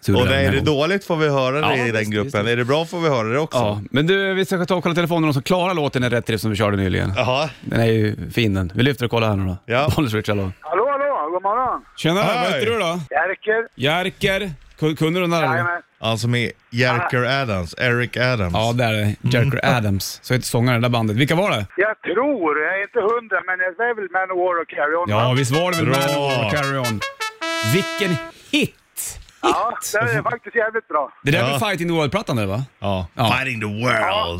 [SPEAKER 2] Så gjorde
[SPEAKER 3] Och
[SPEAKER 2] jag
[SPEAKER 3] det,
[SPEAKER 2] den
[SPEAKER 3] är
[SPEAKER 2] här
[SPEAKER 3] det
[SPEAKER 2] gången.
[SPEAKER 3] dåligt får vi höra det
[SPEAKER 2] Ja,
[SPEAKER 3] i den
[SPEAKER 2] visst,
[SPEAKER 3] gruppen.
[SPEAKER 2] visst.
[SPEAKER 3] Är det bra får vi höra det också.
[SPEAKER 2] Ja, men du, vi ska ta och kolla telefonen och så klarar låten en rätt riff som vi körde nyligen.
[SPEAKER 3] Jaha.
[SPEAKER 2] Den är ju fin den. Vi lyfter och kollar här nu då.
[SPEAKER 3] Ja.
[SPEAKER 2] Bollnäs Rich, hallå.
[SPEAKER 6] Hallå, hallå, god morgon.
[SPEAKER 2] Tjena, vad
[SPEAKER 3] Hej.
[SPEAKER 2] heter du då?
[SPEAKER 6] Jerker.
[SPEAKER 2] Jerker Ku- Kunde du den där? eller?
[SPEAKER 6] Jajamän.
[SPEAKER 3] Han som är Jerker Adams, Eric Adams.
[SPEAKER 2] Ja, där är det. Jerker Adams. Så heter sångaren i det där bandet. Vilka var det?
[SPEAKER 6] Jag tror, jag är inte hundra, men det är väl Manowar och Carry On.
[SPEAKER 2] Ja,
[SPEAKER 6] va?
[SPEAKER 2] visst var det väl
[SPEAKER 3] Bra.
[SPEAKER 2] Manowar och Carry On? Vilken hit!
[SPEAKER 6] Ja, det är faktiskt jävligt bra.
[SPEAKER 2] Det där är
[SPEAKER 3] Ja.
[SPEAKER 2] väl Fight in the World-plattan där va?
[SPEAKER 3] Ja.
[SPEAKER 2] Ja.
[SPEAKER 3] Fighting the world.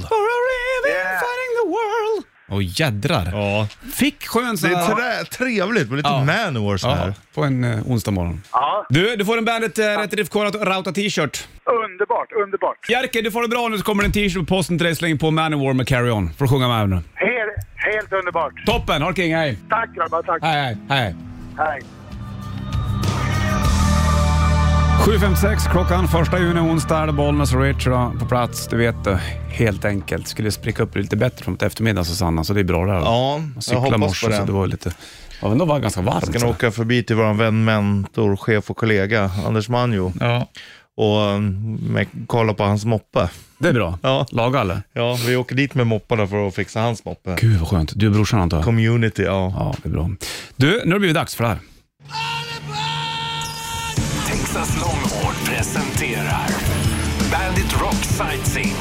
[SPEAKER 2] For a living,
[SPEAKER 6] Yeah.
[SPEAKER 2] fighting the world. Åh jädrar.
[SPEAKER 3] Ja.
[SPEAKER 2] Fick skön sån
[SPEAKER 3] Det
[SPEAKER 2] här...
[SPEAKER 3] är trä- trevligt med lite
[SPEAKER 2] Ja.
[SPEAKER 3] Manowar så här.
[SPEAKER 2] Ja, på en eh, onsdag morgon.
[SPEAKER 6] Ja,
[SPEAKER 2] Du, du får en Bandet eh, Rätt Riff Korat Rauta t-shirt.
[SPEAKER 6] underbart, underbart.
[SPEAKER 2] Jerker, du får det bra nu så kommer det en t-shirt på posten till dig. Släng på Manowar med Carry On. Får sjunga med nu.
[SPEAKER 6] Helt, helt underbart.
[SPEAKER 2] Toppen! Ha det king, hej!
[SPEAKER 6] Tack grabbar, tack.
[SPEAKER 2] Hej, hej, hej.
[SPEAKER 6] Hej.
[SPEAKER 2] 7.56 klockan, första juni, onsdag är det Bollnäs och Rich då på plats. Du vet det, helt enkelt. Skulle spricka upp lite bättre framåt eftermiddagen Susanna, så det är bra det här.
[SPEAKER 3] Ja,
[SPEAKER 2] Man
[SPEAKER 3] jag
[SPEAKER 2] cyklade i
[SPEAKER 3] hoppas
[SPEAKER 2] morse
[SPEAKER 3] på
[SPEAKER 2] så det
[SPEAKER 3] det.
[SPEAKER 2] var lite... Ja, men det var ganska varmt.
[SPEAKER 3] Jag
[SPEAKER 2] så.
[SPEAKER 3] ska åka förbi till vår vän, mentor, chef och kollega Anders Manjo
[SPEAKER 2] Ja.
[SPEAKER 3] och um, med- kolla på hans moppe.
[SPEAKER 2] Det är bra.
[SPEAKER 3] Ja.
[SPEAKER 2] Laga eller?
[SPEAKER 3] Ja, vi åker dit med mopparna för att fixa hans moppe.
[SPEAKER 2] Gud vad skönt. Du är brorsan antar jag?
[SPEAKER 3] Community, ja.
[SPEAKER 2] Ja, det är bra. Du, nu har det blivit dags för det här.
[SPEAKER 1] Texas Longhorn presenterar Bandit Rock Sightseeing.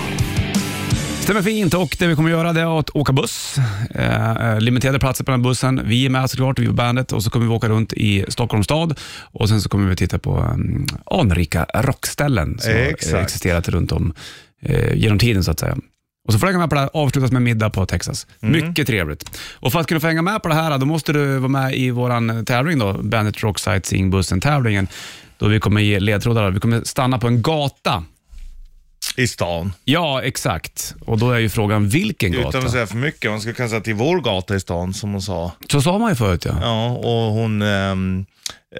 [SPEAKER 2] Stämmer fint och det vi kommer göra det är att åka buss. Eh, eh, limiterade platser på den här bussen. Vi är med såklart, vi är bandet och så kommer vi åka runt i Stockholms stad och sen så kommer vi titta på um, anrika rockställen som har eh,
[SPEAKER 3] Exakt.
[SPEAKER 2] existerat runt om eh, genom tiden så att säga. Och så får du hänga med på det här, avslutas med middag på Texas. Mycket trevligt. Och för att kunna få hänga med på det här, då måste du vara med i vår tävling då, Bandit Rock Sightseeing Bussen-tävlingen, då vi kommer ge ledtrådar. Vi kommer stanna på en gata.
[SPEAKER 3] I stan.
[SPEAKER 2] Ja, exakt. Och då är ju frågan vilken gata?
[SPEAKER 3] Utan att säga för mycket, man skulle kunna säga till vår gata i stan som hon sa.
[SPEAKER 2] Så sa man ju förut ja.
[SPEAKER 3] Ja, och hon ehm,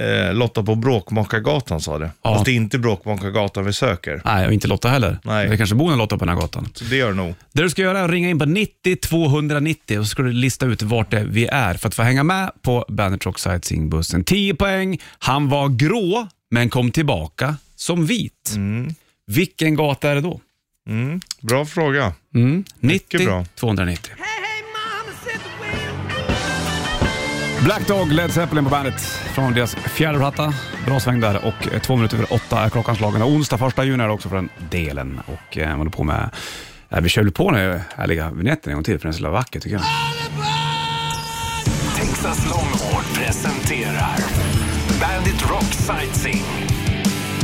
[SPEAKER 3] eh, Lotta på Bråkmakargatan sa det.
[SPEAKER 2] Ja.
[SPEAKER 3] Fast det är inte Bråkmakargatan vi söker.
[SPEAKER 2] Nej, och inte Lotta heller.
[SPEAKER 3] Nej.
[SPEAKER 2] Det kanske bor en Lotta på den här gatan.
[SPEAKER 3] Så det gör det nog.
[SPEAKER 2] Det du ska göra är att ringa in på 90 290 och så ska du lista ut vart det är vi är för att få hänga med på Bandit Rock Sightseeing-bussen. 10 poäng. Han var grå, men kom tillbaka som vit. Vilken gata är det då?
[SPEAKER 3] Mm. Bra fråga.
[SPEAKER 2] 90
[SPEAKER 3] bra.
[SPEAKER 2] 290. Black Dog, Led Zeppelin på bandet från deras fjärde platta. Bra sväng där och eh, två minuter över åtta är klockan slagen. Och Onsdag första juni är det också för den delen. Och eh, man håller på med... Eh, vi kör väl på nu härliga vignetten en gång till för den är så jävla vacker tycker jag.
[SPEAKER 1] Texas Longhorn presenterar Bandit Rock Sightseeing.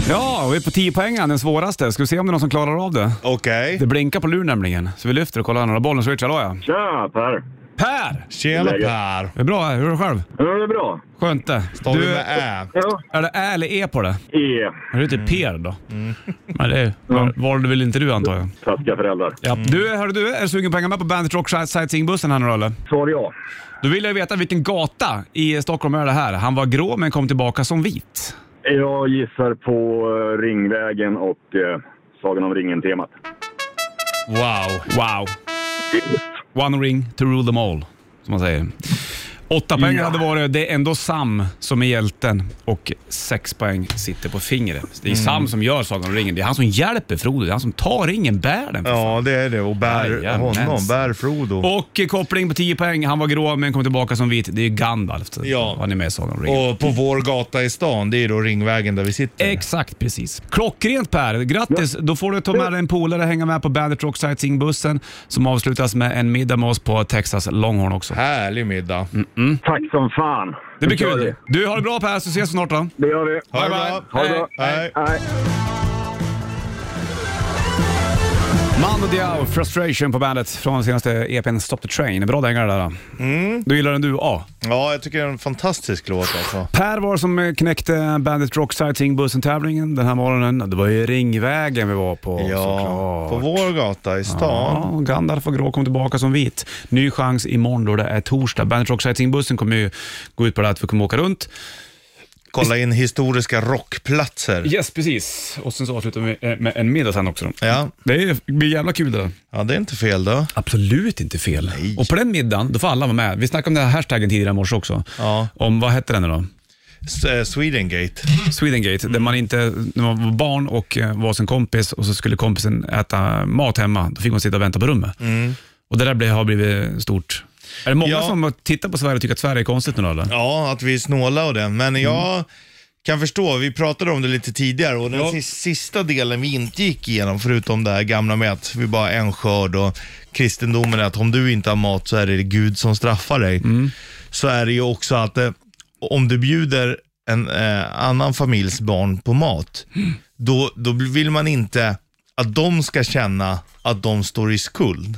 [SPEAKER 2] Ja, och vi är på 10 poängen, den svåraste. Ska vi se om det är någon som klarar av det?
[SPEAKER 3] Okej.
[SPEAKER 2] Det blinkar på luren nämligen, så vi lyfter och kollar några bollen. Switch, hallå ja.
[SPEAKER 7] Tja Per!
[SPEAKER 2] Per!
[SPEAKER 3] Tjena Per.
[SPEAKER 2] Det är bra, hur är det själv?
[SPEAKER 7] Ja, det är bra.
[SPEAKER 2] Skönt det.
[SPEAKER 3] Tar vi
[SPEAKER 2] Du,
[SPEAKER 3] med Ä?
[SPEAKER 7] Ja.
[SPEAKER 2] är det Ä eller E på det?
[SPEAKER 7] E.
[SPEAKER 2] Men du heter Per då? Men det var- valde väl inte du antar jag?
[SPEAKER 7] Taskiga föräldrar.
[SPEAKER 2] Ja. Du, hörru du, är du sugen på att hänga med på Bandit Rock Sightseeing-bussen här nu då, eller?
[SPEAKER 7] Svar ja.
[SPEAKER 2] Då vill jag veta vilken gata i Stockholm är det här? Han var grå men kom tillbaka som vit.
[SPEAKER 7] Jag gissar på eh, Ringvägen och eh, Sagan om ringen-temat.
[SPEAKER 2] Wow. Wow. One ring to rule them all, som man säger. Åtta poäng hade varit. Det är ändå Sam som är hjälten och sex poäng sitter på fingret. Så Det är Sam som gör Sagan om ringen. Det är han som hjälper Frodo. Det är han som tar ringen, bär den. för
[SPEAKER 3] Ja, det är det. Och bär
[SPEAKER 2] Jajamens.
[SPEAKER 3] honom. Bär Frodo. Och,
[SPEAKER 2] Och koppling på 10 poäng. Han var grå men kom tillbaka som vit. Det är ju Gandalf. Så
[SPEAKER 3] Ja.
[SPEAKER 2] Han är med i Sagan om ringen.
[SPEAKER 3] på vår gata i stan, det är då Ringvägen där vi sitter.
[SPEAKER 2] Exakt precis. Klockrent Per! Grattis! Då får du ta med dig en polare och hänga med på Bandit Rock Sightseeing-bussen som avslutas med en middag med oss på Texas Longhorn också.
[SPEAKER 3] Härlig middag.
[SPEAKER 2] Mm.
[SPEAKER 7] Tack som fan!
[SPEAKER 2] Det blir
[SPEAKER 7] Nu kör
[SPEAKER 2] kul!
[SPEAKER 7] vi.
[SPEAKER 2] Du, har det bra Per, så ses vi snart då.
[SPEAKER 7] Det gör vi.
[SPEAKER 3] Ha
[SPEAKER 2] Bye,
[SPEAKER 3] det bra.
[SPEAKER 7] Ha det bra.
[SPEAKER 3] Hej.
[SPEAKER 7] Hej.
[SPEAKER 2] Mando Diao, Frustration på bandet från senaste EPn Stop the Train. Bra dängare där. då.
[SPEAKER 3] Mm.
[SPEAKER 2] Du gillar den du, ja.
[SPEAKER 3] Ja, jag tycker det är en fantastisk låt alltså.
[SPEAKER 2] Per var som knäckte Bandit Rock Sightseeing-bussen-tävlingen den här morgonen. Det var ju Ringvägen vi var på
[SPEAKER 3] Ja,
[SPEAKER 2] såklart.
[SPEAKER 3] på vår gata i stan.
[SPEAKER 2] Ja, Gandalf och grå kom tillbaka som vit. Ny chans imorgon då det är torsdag. Bandit Rock Sightseeing-bussen kommer ju gå ut på det att vi kommer åka runt.
[SPEAKER 3] Kolla in historiska rockplatser.
[SPEAKER 2] Yes, precis. Och sen så avslutar vi eh, med en middag sen också. då.
[SPEAKER 3] Ja,
[SPEAKER 2] Det är- blir jävla kul det där.
[SPEAKER 3] ja det är inte fel då.
[SPEAKER 2] Absolut inte fel. Och på den middagen, då får alla vara med. Vi snackade om den här hashtaggen tidigare i morse också.
[SPEAKER 3] Ja.
[SPEAKER 2] Om, vad hette den nu då?
[SPEAKER 3] S- eh, Swedengate.
[SPEAKER 2] Swedengate, där man inte, när man var barn och eh, var sin kompis och så skulle kompisen äta mat hemma, då fick man sitta och vänta på rummet. Och det där blev- har blivit stort. Är det många
[SPEAKER 3] Ja.
[SPEAKER 2] som tittar på Sverige och tycker att Sverige är konstigt nu då, eller?
[SPEAKER 3] Ja, att vi är snåla och det. Men jag kan förstå, vi pratade om det lite tidigare och den
[SPEAKER 2] Ja.
[SPEAKER 3] sis- sista delen vi inte gick igenom, förutom det här gamla med att vi bara har en skörd och kristendomen är att om du inte har mat så är det Gud som straffar dig.
[SPEAKER 2] Mm.
[SPEAKER 3] Så är det ju också att eh, om du bjuder en eh, annan familjs barn på mat,
[SPEAKER 2] Mm.
[SPEAKER 3] då, då vill man inte att de ska känna att de står i skuld.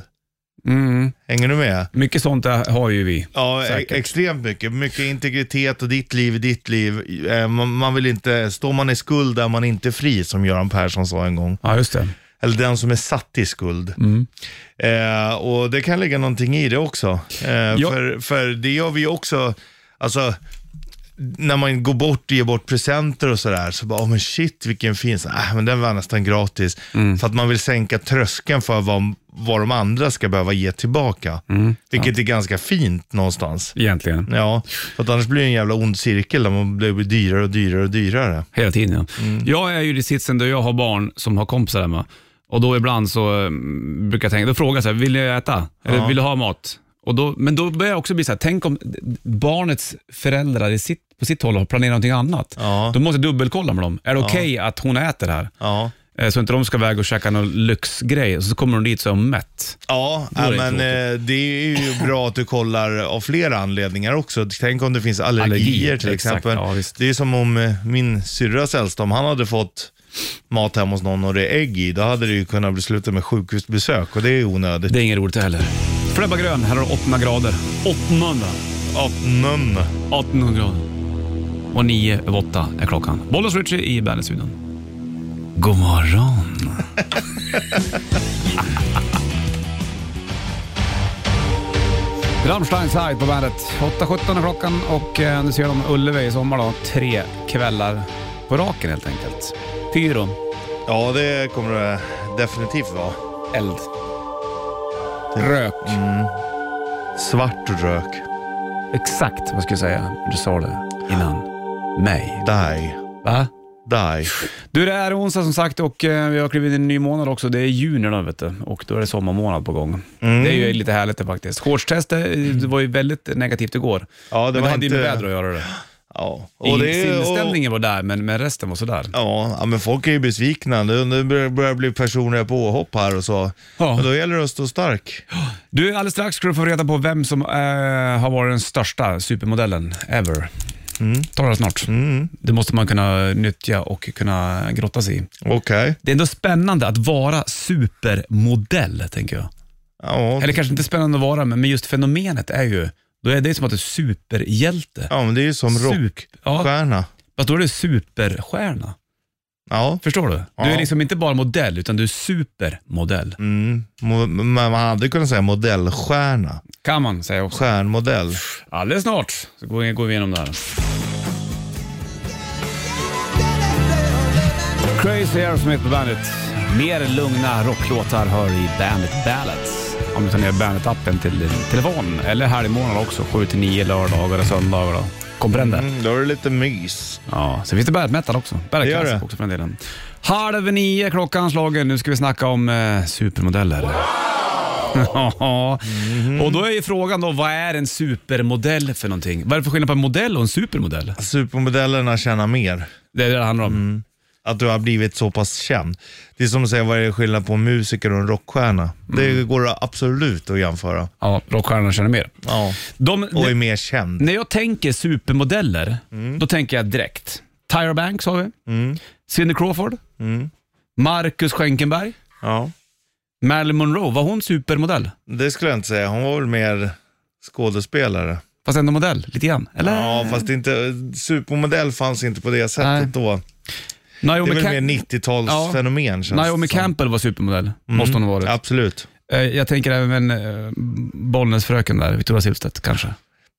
[SPEAKER 2] Mm.
[SPEAKER 3] Hänger du med?
[SPEAKER 2] Mycket sånt där har ju vi.
[SPEAKER 3] Ja, e-
[SPEAKER 2] Säkert.
[SPEAKER 3] extremt mycket. Mycket integritet och ditt liv, ditt liv. Eh, Man, man vill inte, står man i skuld där man inte är fri, som Göran Persson sa en gång.
[SPEAKER 2] Ja, just det.
[SPEAKER 3] Eller den som är satt i skuld.
[SPEAKER 2] Mm.
[SPEAKER 3] Eh, och det kan ligga någonting i det också. Eh,
[SPEAKER 2] Ja.
[SPEAKER 3] för, för det gör vi ju också, alltså, när man går bort och ger bort presenter och sådär, så bara, oh, men shit vilken fin, så, äh, men den var nästan gratis.
[SPEAKER 2] Mm.
[SPEAKER 3] För att man vill sänka tröskeln för vad, vad de andra ska behöva ge tillbaka.
[SPEAKER 2] Mm.
[SPEAKER 3] Vilket är ganska fint någonstans.
[SPEAKER 2] Egentligen.
[SPEAKER 3] Ja, för att annars blir det en jävla ond cirkel där man blir dyrare och dyrare och dyrare.
[SPEAKER 2] Hela tiden ja. Jag är ju i sitsen där jag har barn som har kompisar hemma. Och då ibland så eh, brukar jag tänka, då frågar jag så här, vill jag äta? Eller vill du ha mat? Och då, men då börjar jag också bli så här, tänk om barnets föräldrar i sitt, på sitt håll har planerat någonting annat.
[SPEAKER 3] Ja.
[SPEAKER 2] Då måste jag dubbelkolla med dem. Är det okej att hon äter här?
[SPEAKER 3] Ja.
[SPEAKER 2] Eh, Så inte de ska väga och käka någon lyxgrej och så kommer de dit så är hon mätt.
[SPEAKER 3] Ja,
[SPEAKER 2] Då är det
[SPEAKER 3] men
[SPEAKER 2] tråkigt.
[SPEAKER 3] eh, det är ju bra att du kollar av flera anledningar också. Tänk om det finns allergier
[SPEAKER 2] Allergier,
[SPEAKER 3] till
[SPEAKER 2] exakt.
[SPEAKER 3] exempel.
[SPEAKER 2] Ja, visst.
[SPEAKER 3] det är som om eh, min syrras äldsta, om han hade fått mat hemma hos någon och det är ägg i, då hade det ju kunnat bli sluta med sjukhusbesök och det är ju onödigt.
[SPEAKER 2] Det är inget roligt heller. Flebba Grön, här har du 800 grader. 800?
[SPEAKER 3] Ja, nunn.
[SPEAKER 2] 1800 grader. Och 9 över 8 är klockan. Bollnäs Ritchie i Bandit-studion. God morgon. Rammstein Side på bandet. 8.17 är klockan och eh, nu ser de Ullevi i sommar då. Tre kvällar på raken helt enkelt. Pyro,
[SPEAKER 3] Ja, det kommer det definitivt vara.
[SPEAKER 2] eld, rök.
[SPEAKER 3] Svart rök.
[SPEAKER 2] Exakt vad ska jag säga. Du sa det innan mig.
[SPEAKER 3] Die.
[SPEAKER 2] Va?
[SPEAKER 3] Die.
[SPEAKER 2] Du, det är onsdag som sagt och eh, vi har klivit in i en ny månad också. Det är juni nu vet du och då är det sommarmånad på gång.
[SPEAKER 3] Mm.
[SPEAKER 2] Det är ju lite härligt det faktiskt. Shortstestet eh, det var ju väldigt negativt igår.
[SPEAKER 3] Ja, det
[SPEAKER 2] men
[SPEAKER 3] var
[SPEAKER 2] det hade ju
[SPEAKER 3] inte-
[SPEAKER 2] med väder att göra det.
[SPEAKER 3] Ja.
[SPEAKER 2] Och
[SPEAKER 3] det är-
[SPEAKER 2] Sinnesstämningen var där, men, men resten var sådär.
[SPEAKER 3] Ja, ja, men folk är ju besvikna. Nu nu börjar börjar det bli personliga påhopp här och så.
[SPEAKER 2] Ja.
[SPEAKER 3] Men då gäller det att stå stark.
[SPEAKER 2] Du, alldeles strax ska du få reda på vem som eh, har varit den största supermodellen ever. Mm. Tar det snart.
[SPEAKER 3] Mm.
[SPEAKER 2] Det måste man kunna nyttja och kunna grotta sig i.
[SPEAKER 3] Okej.
[SPEAKER 2] Det är ändå spännande att vara supermodell, tänker jag.
[SPEAKER 3] Ja,
[SPEAKER 2] Eller kanske inte spännande att vara, men men just fenomenet är ju, då är det som att du är superhjälte.
[SPEAKER 3] ja, men det är ju som
[SPEAKER 2] Sup- ja,
[SPEAKER 3] rockstjärna.
[SPEAKER 2] fast då är du superstjärna.
[SPEAKER 3] Ja.
[SPEAKER 2] Förstår du? Du
[SPEAKER 3] Ja.
[SPEAKER 2] är liksom inte bara modell, utan du är supermodell.
[SPEAKER 3] Mm. Mo- Men man hade kunnat säga modellstjärna.
[SPEAKER 2] Kan man säga också.
[SPEAKER 3] Stjärnmodell.
[SPEAKER 2] Alldeles snart så går vi, går vi igenom det här. Crazy Aerosmith på Bandit. Mer lugna rocklåtar hör i Bandit Ballads. Om du tar ner Bandit-appen till din telefon eller helgmorgnar också. 7-9 lördagar och söndagar. då. Comprende?
[SPEAKER 3] Mm, då är det lite mys.
[SPEAKER 2] Ja, sen finns det Bandit Metal också. Bandit
[SPEAKER 3] Det gör
[SPEAKER 2] Classic
[SPEAKER 3] det.
[SPEAKER 2] också för den delen. Halv nio klockan slagen. Nu ska vi snacka om eh, supermodeller. Ja,
[SPEAKER 3] Mhm.
[SPEAKER 2] och då är ju frågan då, vad är en supermodell för någonting? Vad är det för skillnad på en modell och en supermodell?
[SPEAKER 3] Supermodellerna tjänar mer.
[SPEAKER 2] Det är det det handlar om.
[SPEAKER 3] Mm. Att du har blivit så pass känd. Det är som att säga vad är det skillnad på en musiker och en rockstjärna. Det går absolut att jämföra.
[SPEAKER 2] Ja, rockstjärnorna känner mer.
[SPEAKER 3] Ja.
[SPEAKER 2] De,
[SPEAKER 3] Och är mer känd.
[SPEAKER 2] När jag tänker supermodeller,
[SPEAKER 3] Mm.
[SPEAKER 2] då tänker jag direkt. Tyra Banks har vi. Cindy Crawford.
[SPEAKER 3] Mm.
[SPEAKER 2] Marcus Schenkenberg.
[SPEAKER 3] Ja.
[SPEAKER 2] Marilyn Monroe, var hon supermodell?
[SPEAKER 3] Det skulle jag inte säga. Hon var väl mer skådespelare.
[SPEAKER 2] Fast ändå modell, lite grann. Eller?
[SPEAKER 3] Ja, fast det är inte, supermodell fanns inte på det sättet
[SPEAKER 2] Nej.
[SPEAKER 3] då. Det
[SPEAKER 2] Naomi,
[SPEAKER 3] är
[SPEAKER 2] Cam-
[SPEAKER 3] väl mer 90-talsfenomen känns det
[SPEAKER 2] Naomi
[SPEAKER 3] som.
[SPEAKER 2] Campbell var supermodell, måste hon ha varit.
[SPEAKER 3] Absolut.
[SPEAKER 2] Eh, Jag tänker även eh, Bollnäsfröken där, Victoria Silvstedt kanske.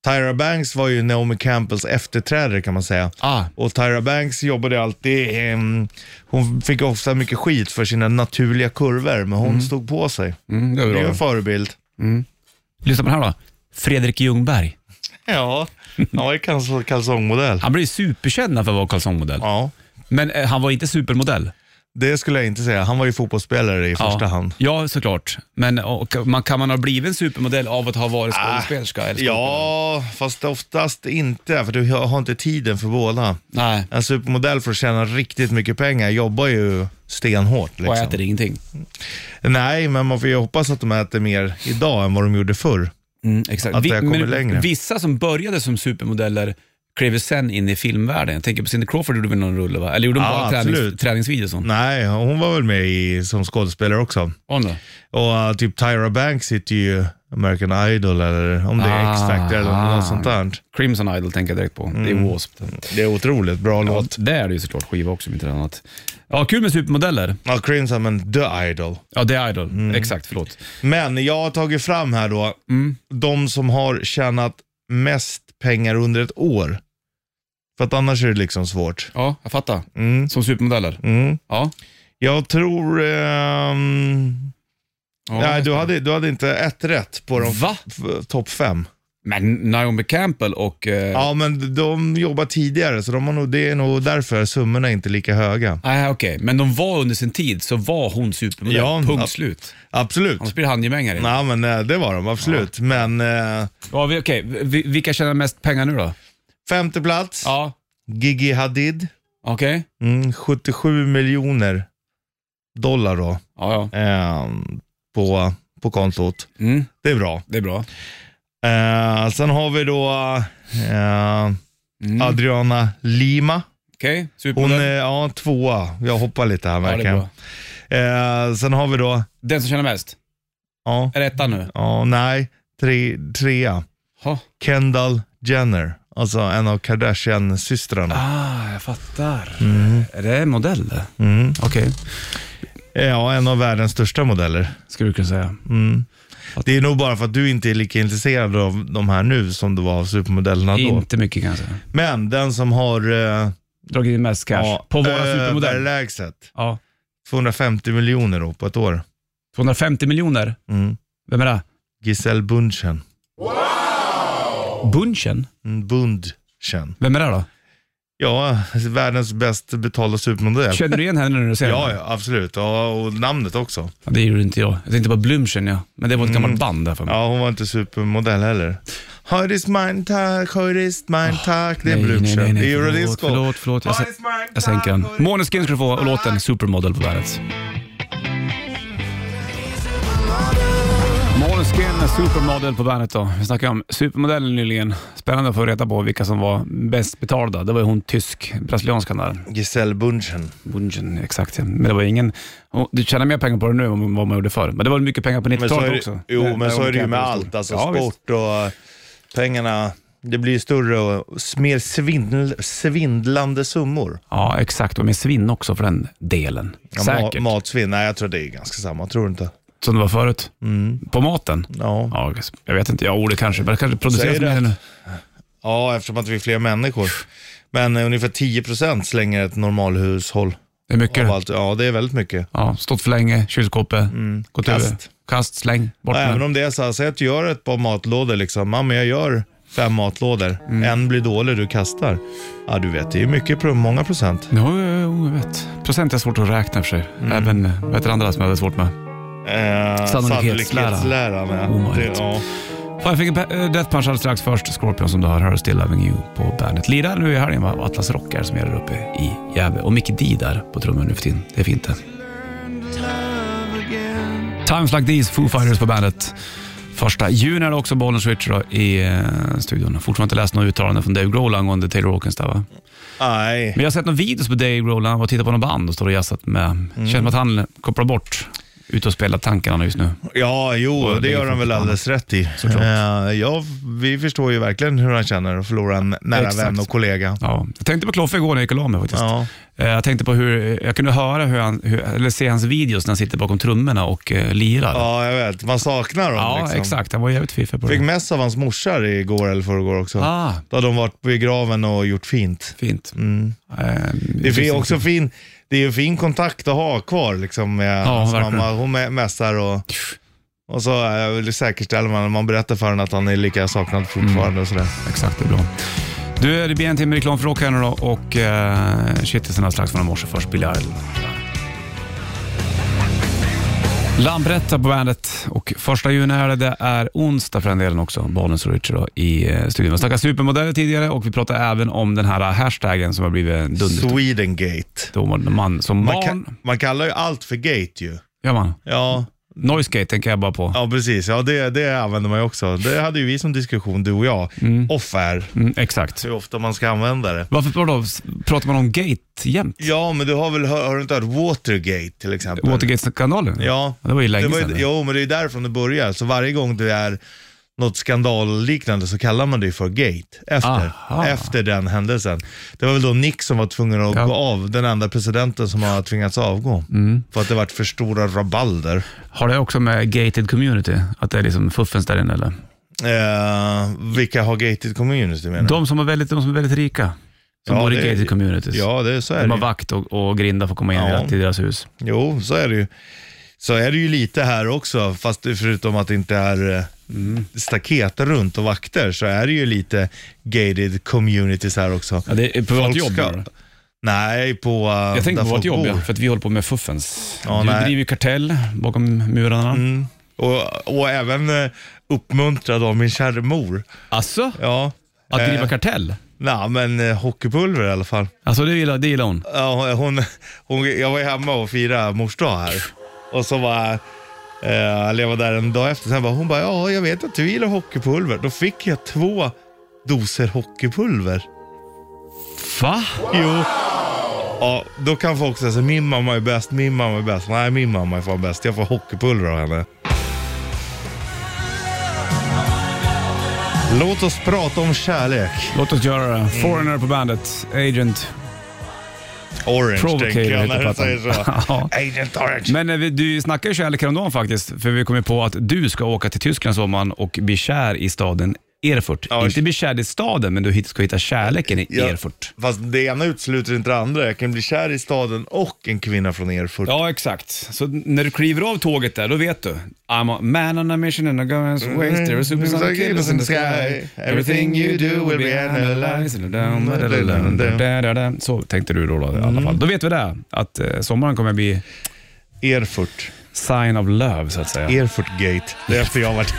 [SPEAKER 3] Tyra Banks var ju Naomi Campbells efterträdare kan man säga.
[SPEAKER 2] Ah.
[SPEAKER 3] Och Tyra Banks jobbade alltid, ehm, hon fick ofta mycket skit för sina naturliga kurvor, men hon stod på sig.
[SPEAKER 2] Mm, det
[SPEAKER 3] Det är
[SPEAKER 2] är
[SPEAKER 3] ju en
[SPEAKER 2] bra.
[SPEAKER 3] förebild.
[SPEAKER 2] Lyssna på den här då. Fredrik Ljungberg.
[SPEAKER 3] Ja, han var ju kals- kalsongmodell.
[SPEAKER 2] Han blev ju superkänd för att vara kalsongmodell.
[SPEAKER 3] Ja.
[SPEAKER 2] Men eh, han var inte supermodell.
[SPEAKER 3] Det skulle jag inte säga. Han var ju fotbollsspelare i första hand.
[SPEAKER 2] Ja, såklart. Men eh, och, man, kan man ha blivit en supermodell av att ha varit skådespelerska? eller skådespelare?
[SPEAKER 3] Ah, Ja, fast oftast inte, för du har inte tiden för båda.
[SPEAKER 2] Nej,
[SPEAKER 3] En supermodell för att tjäna riktigt mycket pengar jobbar ju stenhårt.
[SPEAKER 2] och
[SPEAKER 3] Liksom.
[SPEAKER 2] äter ingenting.
[SPEAKER 3] Nej, men man får ju hoppas att de äter mer idag än vad de gjorde förr.
[SPEAKER 2] Mm, Exakt.
[SPEAKER 3] Att det
[SPEAKER 2] Vi-
[SPEAKER 3] kommer
[SPEAKER 2] men
[SPEAKER 3] längre.
[SPEAKER 2] Vissa som började som supermodeller klev ju sen in i filmvärlden. Jag tänker på Cindy Crawford gjorde väl någon rulle va? Eller gjorde hon
[SPEAKER 3] Ja,
[SPEAKER 2] bara tränings,
[SPEAKER 3] Ah, absolut.
[SPEAKER 2] träningsvideos? Hon?
[SPEAKER 3] Nej, hon var väl med i, som skådespelare också.
[SPEAKER 2] Hon då?
[SPEAKER 3] Och uh, typ Tyra Banks sitter ju i American Idol eller om det är
[SPEAKER 2] Ah,
[SPEAKER 3] X-Factor eller
[SPEAKER 2] ah.
[SPEAKER 3] något sånt där.
[SPEAKER 2] Crimson Idol tänker jag direkt på. Det
[SPEAKER 3] Mm.
[SPEAKER 2] är W.A.S.P.
[SPEAKER 3] Det är otroligt bra
[SPEAKER 2] Ja,
[SPEAKER 3] låt.
[SPEAKER 2] det är det ju såklart skiva också om inte annat. Ja, kul med supermodeller.
[SPEAKER 3] Ja, Crimson, men The Idol.
[SPEAKER 2] Ja, det är Idol.
[SPEAKER 3] Mm.
[SPEAKER 2] Exakt, förlåt.
[SPEAKER 3] Men jag har tagit fram här då,
[SPEAKER 2] Mm.
[SPEAKER 3] de som har tjänat mest pengar under ett år. För att annars är det liksom svårt.
[SPEAKER 2] Ja, jag fattar.
[SPEAKER 3] Mm.
[SPEAKER 2] Som supermodeller.
[SPEAKER 3] Mm.
[SPEAKER 2] Ja.
[SPEAKER 3] Jag tror... ehm,
[SPEAKER 2] ja
[SPEAKER 3] nej, du hade, du hade inte ett rätt på de
[SPEAKER 2] Va?
[SPEAKER 3] f- topp fem.
[SPEAKER 2] Men Naomi Campbell och... eh,
[SPEAKER 3] Ja, men de jobbar tidigare, så de har nog, det är nog därför summorna är inte lika höga.
[SPEAKER 2] Nej, Ah, okej. Men de var under sin tid, så var hon supermodell.
[SPEAKER 3] Ja,
[SPEAKER 2] Punkt
[SPEAKER 3] ab-
[SPEAKER 2] slut.
[SPEAKER 3] Absolut.
[SPEAKER 2] Annars blir det handgemängare.
[SPEAKER 3] Nej, men eh, det var de absolut. Men eh,
[SPEAKER 2] Ja, vi, okej. Vi, vilka tjänar mest pengar nu då?
[SPEAKER 3] femte plats,
[SPEAKER 2] Ja.
[SPEAKER 3] Gigi Hadid.
[SPEAKER 2] Okej.
[SPEAKER 3] Mm, 77 miljoner dollar då.
[SPEAKER 2] Ja, ja.
[SPEAKER 3] ehm, på, på kontot.
[SPEAKER 2] Mm,
[SPEAKER 3] Det är bra.
[SPEAKER 2] det är bra.
[SPEAKER 3] Eh, sen har vi då eh,
[SPEAKER 2] Mm.
[SPEAKER 3] Adriana Lima.
[SPEAKER 2] Okej,
[SPEAKER 3] Hon
[SPEAKER 2] supermodell.
[SPEAKER 3] är ja, tvåa. Jag hoppar lite här
[SPEAKER 2] ja, det är
[SPEAKER 3] verkligen.
[SPEAKER 2] bra.
[SPEAKER 3] eh, sen har vi då,
[SPEAKER 2] Den som tjänar mest?
[SPEAKER 3] ja,
[SPEAKER 2] Är det ettan nu?
[SPEAKER 3] ja nej, tre, trea.
[SPEAKER 2] Ha.
[SPEAKER 3] Kendall Jenner. Alltså en av Kardashian-systrarna.
[SPEAKER 2] Ah, jag fattar. Är det modell?
[SPEAKER 3] Mm.
[SPEAKER 2] Okej,
[SPEAKER 3] Eh, Ja, en av världens största modeller.
[SPEAKER 2] skulle du kunna säga.
[SPEAKER 3] Det är nog bara för att du inte är lika intresserad av de här nu som du var av supermodellerna då.
[SPEAKER 2] Inte mycket kanske.
[SPEAKER 3] Men den som har eh,
[SPEAKER 2] Dragit in mest cash.
[SPEAKER 3] ja, eh,
[SPEAKER 2] på våra supermodeller.
[SPEAKER 3] överlägset
[SPEAKER 2] Ja.
[SPEAKER 3] 250 miljoner då på ett år.
[SPEAKER 2] 250 miljoner.
[SPEAKER 3] Mm.
[SPEAKER 2] Vem är det?
[SPEAKER 3] Giselle Bundchen.
[SPEAKER 2] Bunchen?
[SPEAKER 3] Mm, Bundchen.
[SPEAKER 2] Vem är det då?
[SPEAKER 3] Ja, världens bäst betalda supermodell.
[SPEAKER 2] Känner du igen henne när du ser
[SPEAKER 3] Ja,
[SPEAKER 2] henne?
[SPEAKER 3] ja, absolut. Ja, och namnet också.
[SPEAKER 2] Ja, Det gjorde inte jag. Jag tänkte på Blümchen, ja. Men det var ett gammalt band där för mig.
[SPEAKER 3] Mm. Ja, hon var inte supermodell heller. Hör is mine tack, hör is mine
[SPEAKER 2] Ah,
[SPEAKER 3] tack. Det är Blucher. Det är Eurodisco.
[SPEAKER 2] Förlåt, förlåt. Jag,
[SPEAKER 3] Hör
[SPEAKER 2] sä-
[SPEAKER 3] is mine
[SPEAKER 2] jag sänker den.
[SPEAKER 3] tack, hör is-
[SPEAKER 2] Måneskin ska du få och låten Supermodel på bandet. Måneskin, Supermodel på bandet då. Vi snackade om supermodellen nyligen. Spännande att få reda på vilka som var bäst betalda. Det var ju hon tysk, brasilianskan där.
[SPEAKER 3] Giselle Bundchen.
[SPEAKER 2] Bunchen, exakt ja. Men det var ingen... och Du tjänar mer pengar på det nu än vad man gjorde förr. Men det var mycket pengar på
[SPEAKER 3] Men så är
[SPEAKER 2] 90-talet också.
[SPEAKER 3] det, jo,
[SPEAKER 2] När- när
[SPEAKER 3] men så
[SPEAKER 2] hon
[SPEAKER 3] är det ju
[SPEAKER 2] kan
[SPEAKER 3] med
[SPEAKER 2] bli
[SPEAKER 3] allt.
[SPEAKER 2] stor.
[SPEAKER 3] Alltså
[SPEAKER 2] Ja, visst.
[SPEAKER 3] sport och eh, pengarna. Det blir ju större och s- mer svindl, svindlande summor.
[SPEAKER 2] Ja, exakt. Och med svinn också för den delen.
[SPEAKER 3] Ja,
[SPEAKER 2] Säkert.
[SPEAKER 3] Ma- matsvinn, nej jag tror det är ganska samma. Tror du inte?
[SPEAKER 2] Som det var förut.
[SPEAKER 3] Mm.
[SPEAKER 2] På maten.
[SPEAKER 3] Ja.
[SPEAKER 2] Ja, jag vet inte. Ja, ordet kanske. Men det kanske produceras
[SPEAKER 3] Säg det.
[SPEAKER 2] mer nu.
[SPEAKER 3] Ja, eftersom att vi är fler människor. Men eh, ungefär 10% slänger ett normalhushåll.
[SPEAKER 2] Det är mycket.
[SPEAKER 3] Av allt. Ja, det är väldigt mycket.
[SPEAKER 2] Ja, stått för länge, kylskåpet, gått
[SPEAKER 3] Mm. Kast.
[SPEAKER 2] över. Kast, släng, bort
[SPEAKER 3] Och
[SPEAKER 2] med
[SPEAKER 3] även
[SPEAKER 2] den.
[SPEAKER 3] om det är så här, säg att du gör ett par matlådor liksom. Mamma, jag gör fem matlådor.
[SPEAKER 2] Mm.
[SPEAKER 3] En blir dålig, du kastar. Ja, du vet, det är ju mycket, pro- många procent.
[SPEAKER 2] Jo, jo, jo, jag vet. Procent är svårt att räkna för sig. Även, eh, vad heter det andra som jag hade svårt med? Sannolikhetslära.
[SPEAKER 3] Eh, Sannolikhetsläran, ja.
[SPEAKER 2] Omöjligt.
[SPEAKER 3] Det- ja.
[SPEAKER 2] Fan, jag fick en pe- eh, Death Punch alldeles strax. Först Scorpion som du hör, hör Still Loving You på bandet. Lirar nu i helgen va? Och Atlas Rockar som gäller uppe i Gävle. Och Mickey D där på trummor nu för tiden. Det är fint det. Times Like These, Foo Fighters på bandet. Första juni är det också Bollen Switch då, i eh, studion. Fortfarande inte läst något uttalande från Dave Grohl angående Taylor Hawkins där va?
[SPEAKER 3] Nej.
[SPEAKER 2] Men jag har sett några videos på Dave Grohl när han var och tittade på någon band och står och jazzat med.
[SPEAKER 3] Mm.
[SPEAKER 2] Känns som att han kopplar bort ut och spelar tankarna just nu.
[SPEAKER 3] Ja, jo,
[SPEAKER 2] Och
[SPEAKER 3] det
[SPEAKER 2] det är
[SPEAKER 3] gör han väl
[SPEAKER 2] faktiskt
[SPEAKER 3] alldeles rätt i.
[SPEAKER 2] Såklart.
[SPEAKER 3] Eh, ja, vi förstår ju verkligen hur han känner att förlora en nära
[SPEAKER 2] Exakt.
[SPEAKER 3] vän och kollega.
[SPEAKER 2] Ja. Jag tänkte på Kloffe igår när jag gick och la mig faktiskt.
[SPEAKER 3] Ja.
[SPEAKER 2] Eh, Jag tänkte på hur, jag kunde höra hur han, hur, eller se hans videos när han sitter bakom trummorna och eh, lirar.
[SPEAKER 3] ja, jag vet. Man saknar dem
[SPEAKER 2] Ja,
[SPEAKER 3] liksom.
[SPEAKER 2] exakt. Han var jävligt fiffig på
[SPEAKER 3] Fick
[SPEAKER 2] det.
[SPEAKER 3] mess av hans morsa igår eller förrgår också.
[SPEAKER 2] Ah,
[SPEAKER 3] Då hade de varit på graven och gjort fint. Mm.
[SPEAKER 2] fint. Eh,
[SPEAKER 3] Det är fin-
[SPEAKER 2] finns-
[SPEAKER 3] också fin, det är ju fin kontakt att ha kvar liksom med hans
[SPEAKER 2] verkligen.
[SPEAKER 3] mamma. Hon me- messar och, och så eh, säkerställer man, man berättar för henne att han är lika saknad
[SPEAKER 2] Mm.
[SPEAKER 3] fortfarande och sådär.
[SPEAKER 2] Exakt, det är bra. Du, det blir en timme reklam för rock här nu då och eh, shit, det är strax från i morse. Först Billie Idol. Lambretta på bandet och första juni är det, det är onsdag för den delen också, Bollnäs och Richard då, i eh, studion. Vi snackade supermodeller tidigare och vi pratade även om den här eh, hashtaggen som har blivit en dunderstorm.
[SPEAKER 3] Swedengate.
[SPEAKER 2] När Man, som
[SPEAKER 3] Man,
[SPEAKER 2] barn,
[SPEAKER 3] ka- man kallar ju allt för gate ju.
[SPEAKER 2] gör man.
[SPEAKER 3] Ja,
[SPEAKER 2] Noisegate tänker jag bara på.
[SPEAKER 3] ja precis. Ja, det, det använder man ju också. Det hade ju vi som diskussion, du och jag. Off air,
[SPEAKER 2] Mm, exakt.
[SPEAKER 3] hur ofta man ska använda det.
[SPEAKER 2] Varför vadå, s- pratar man om gate jämt?
[SPEAKER 3] Ja, men du har väl hör, har du inte hört Watergate till exempel?
[SPEAKER 2] Watergate-skandalen?
[SPEAKER 3] Ja.
[SPEAKER 2] Det var ju länge sedan. det.
[SPEAKER 3] Jo, men det är därifrån det börjar. Så varje gång det är något skandalliknande så kallar man det för gate. Efter,
[SPEAKER 2] Aha.
[SPEAKER 3] efter den händelsen. Det var väl då Nixon var tvungen att
[SPEAKER 2] Ja. Mm.
[SPEAKER 3] gå av, den enda presidenten som har tvingats avgå. För att det varit för stora rabalder.
[SPEAKER 2] Har det också med gated community, att det är liksom fuffens där inne
[SPEAKER 3] Mm.
[SPEAKER 2] eller?
[SPEAKER 3] Eh, vilka har gated community menar du?
[SPEAKER 2] De som är väldigt, de som är väldigt rika, som
[SPEAKER 3] Ja,
[SPEAKER 2] bor i
[SPEAKER 3] det-
[SPEAKER 2] gated communities.
[SPEAKER 3] Ja, det, så är
[SPEAKER 2] De
[SPEAKER 3] det
[SPEAKER 2] har
[SPEAKER 3] ju.
[SPEAKER 2] vakt och, och grinda för att komma in
[SPEAKER 3] Ja.
[SPEAKER 2] till deras hus.
[SPEAKER 3] Jo, så är det ju. Så är det ju lite här också, fast det- förutom att det inte är eh, staket runt och vakter så är det ju lite gated communities här också.
[SPEAKER 2] Ja, det är på vårt jobb. menar du?
[SPEAKER 3] Nej, på eh,
[SPEAKER 2] Jag tänker på
[SPEAKER 3] där
[SPEAKER 2] vårt
[SPEAKER 3] folk
[SPEAKER 2] jobb,
[SPEAKER 3] bor.
[SPEAKER 2] ja, för att vi håller på med fuffens.
[SPEAKER 3] Ja,
[SPEAKER 2] du
[SPEAKER 3] nej.
[SPEAKER 2] driver ju kartell bakom murarna. Mm.
[SPEAKER 3] Mm. Och, och även eh, uppmuntrad av min kära mor.
[SPEAKER 2] Alltså,
[SPEAKER 3] Ja.
[SPEAKER 2] att driva
[SPEAKER 3] Eh,
[SPEAKER 2] kartell?
[SPEAKER 3] Nej, men eh, hockeypulver i alla fall.
[SPEAKER 2] Alltså det gillar, det gillar hon.
[SPEAKER 3] Ja, hon, hon, jag var ju hemma och firade mors dag här. Och så var eh, eller jag var där en dag efter. Sen bara, hon bara, ja jag vet att du gillar hockeypulver. Då fick jag två doser hockeypulver.
[SPEAKER 2] Va?
[SPEAKER 3] Jo. Ja, då kan folk säga så min mamma är bäst, min mamma är bäst. Nej, min mamma är fan bäst. Jag får hockeypulver av henne. Låt oss prata om kärlek.
[SPEAKER 2] Låt oss göra
[SPEAKER 3] Mm.
[SPEAKER 2] det. Foreigner på bandet, Agent.
[SPEAKER 3] Orange
[SPEAKER 2] Provocator
[SPEAKER 3] tänker jag
[SPEAKER 2] heter
[SPEAKER 3] när du
[SPEAKER 2] plattan.
[SPEAKER 3] säger så.
[SPEAKER 2] Ja.
[SPEAKER 3] Agent Orange.
[SPEAKER 2] Men eh, vi- du snackade ju kärlek häromdagen faktiskt, för vi kom ju på att du ska åka till Tyskland sommaren och bli kär i staden Erfurt.
[SPEAKER 3] Ja,
[SPEAKER 2] Inte bli kär i staden, men du hit- ska hitta kärleken i
[SPEAKER 3] Ja.
[SPEAKER 2] Erfurt.
[SPEAKER 3] Fast det ena utesluter inte det andra. Jag kan bli kär i staden och en kvinna från Erfurt.
[SPEAKER 2] Ja, exakt. Så när du kliver av tåget där, då vet du. I'm a man on a mission and I'm going to waste there are supersonic killers in the sky. Everything you do will be analyzed. and down, da, da, da, da, da, da, da. Så tänkte du då, då i alla fall. Då vet vi det, att eh, sommaren kommer bli
[SPEAKER 3] Erfurt.
[SPEAKER 2] sign of love, så att säga.
[SPEAKER 3] Erfurt Gate. Det är efter jag har varit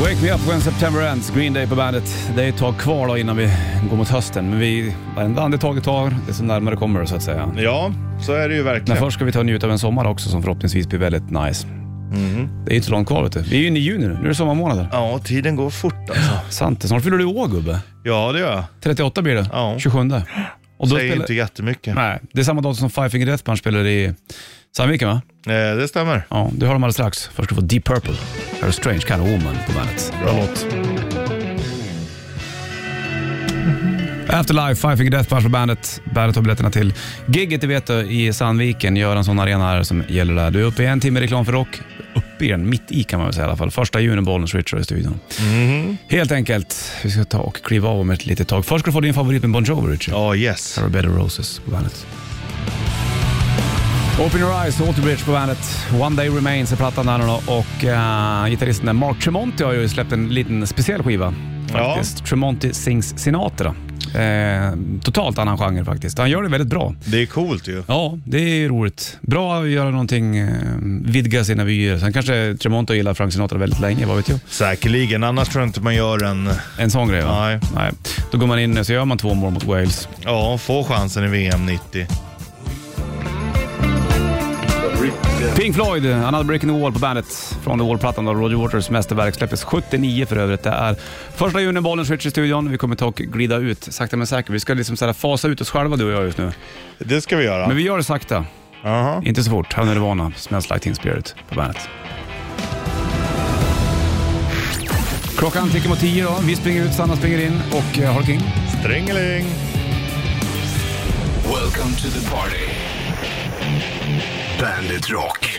[SPEAKER 2] Wake me up when September ends, Green Day på bandet. Det är ett tag kvar då innan vi går mot hösten, men vi, varenda andetag vi tar, desto närmare kommer det, så att säga.
[SPEAKER 3] Ja, så är det ju
[SPEAKER 2] Men
[SPEAKER 3] verkligen.
[SPEAKER 2] först ska vi ta och njuta av en sommar också som förhoppningsvis blir väldigt nice.
[SPEAKER 3] Mhm.
[SPEAKER 2] Det är ju inte så långt kvar vet du. Vi är ju inne i juni nu. Nu är det sommarmånader.
[SPEAKER 3] Ja, tiden går fort alltså.
[SPEAKER 2] Sant det. Snart fyller du år gubbe.
[SPEAKER 3] Ja, det gör jag.
[SPEAKER 2] 38 blir det.
[SPEAKER 3] Ja.
[SPEAKER 2] 27. Och då
[SPEAKER 3] Säger
[SPEAKER 2] spelar-
[SPEAKER 3] inte jättemycket.
[SPEAKER 2] Nej, det är samma datum som Five Finger Death Punch spelar i Sandviken va?
[SPEAKER 3] Eh, det stämmer.
[SPEAKER 2] Ja, du hör dem alldeles strax. Först ska du få Deep Purple. Här är Strange Kind of Woman på bandet. Mm-hmm. Bra låt. Afterlife, Five Finger Death Punch på bandet. Bandet har biljetterna till gigget, det vet du, i Sandviken. Gör en sån arena här som gäller där. Du är uppe i en timme reklam för rock. Uppe i den, mitt i kan man väl säga i alla fall. Första juni, Bollnäs Richard i studion. Helt enkelt. Vi ska ta och kliva av om ett litet tag. Först ska du få din favorit med Bon Jovi, Richard.
[SPEAKER 3] Ja, yes.
[SPEAKER 2] Här har Bed of Roses på bandet. Open Your Eyes, Alterbridge på bandet. One Day Remains är plattan där nu då. och eh, gitarristen där, Mark Tremonti har ju släppt en liten speciell skiva.
[SPEAKER 3] Ja.
[SPEAKER 2] Faktiskt. Tremonti sings Sinatra. Eh, totalt annan genre faktiskt. Han gör det väldigt bra.
[SPEAKER 3] Det är coolt ju.
[SPEAKER 2] Ja, det är ju roligt. Bra att göra någonting, eh, vidga sina vyer. Sen kanske Tremonti gillar Frank Sinatra väldigt länge, vad vet jag.
[SPEAKER 3] Säkerligen, annars tror jag inte man gör en...
[SPEAKER 2] En sån grej va?
[SPEAKER 3] Nej.
[SPEAKER 2] Nej. Då går man in så gör man två mål mot Wales.
[SPEAKER 3] Ja, få chansen i VM 90.
[SPEAKER 2] Pink Floyd, Another Break in the Wall på bandet från The Wall-plattan av Roger Waters mästerverk. Släpptes 79 för övrigt. Det är första juni, Bollens Rich i studion. Vi kommer ta och glida ut sakta men säkert. Vi ska liksom så här fasa ut oss själva du och jag just nu.
[SPEAKER 3] Det ska vi göra.
[SPEAKER 2] Men vi gör det sakta,
[SPEAKER 3] Aha.
[SPEAKER 2] inte så fort. Här är Nirvana, Smells Like Teen Spirit på bandet. Klockan tickar mot tio då. Vi springer ut, Sanna springer in och eh, Harking.
[SPEAKER 3] Stringeling.
[SPEAKER 1] Welcome to the party. Bandit Rock.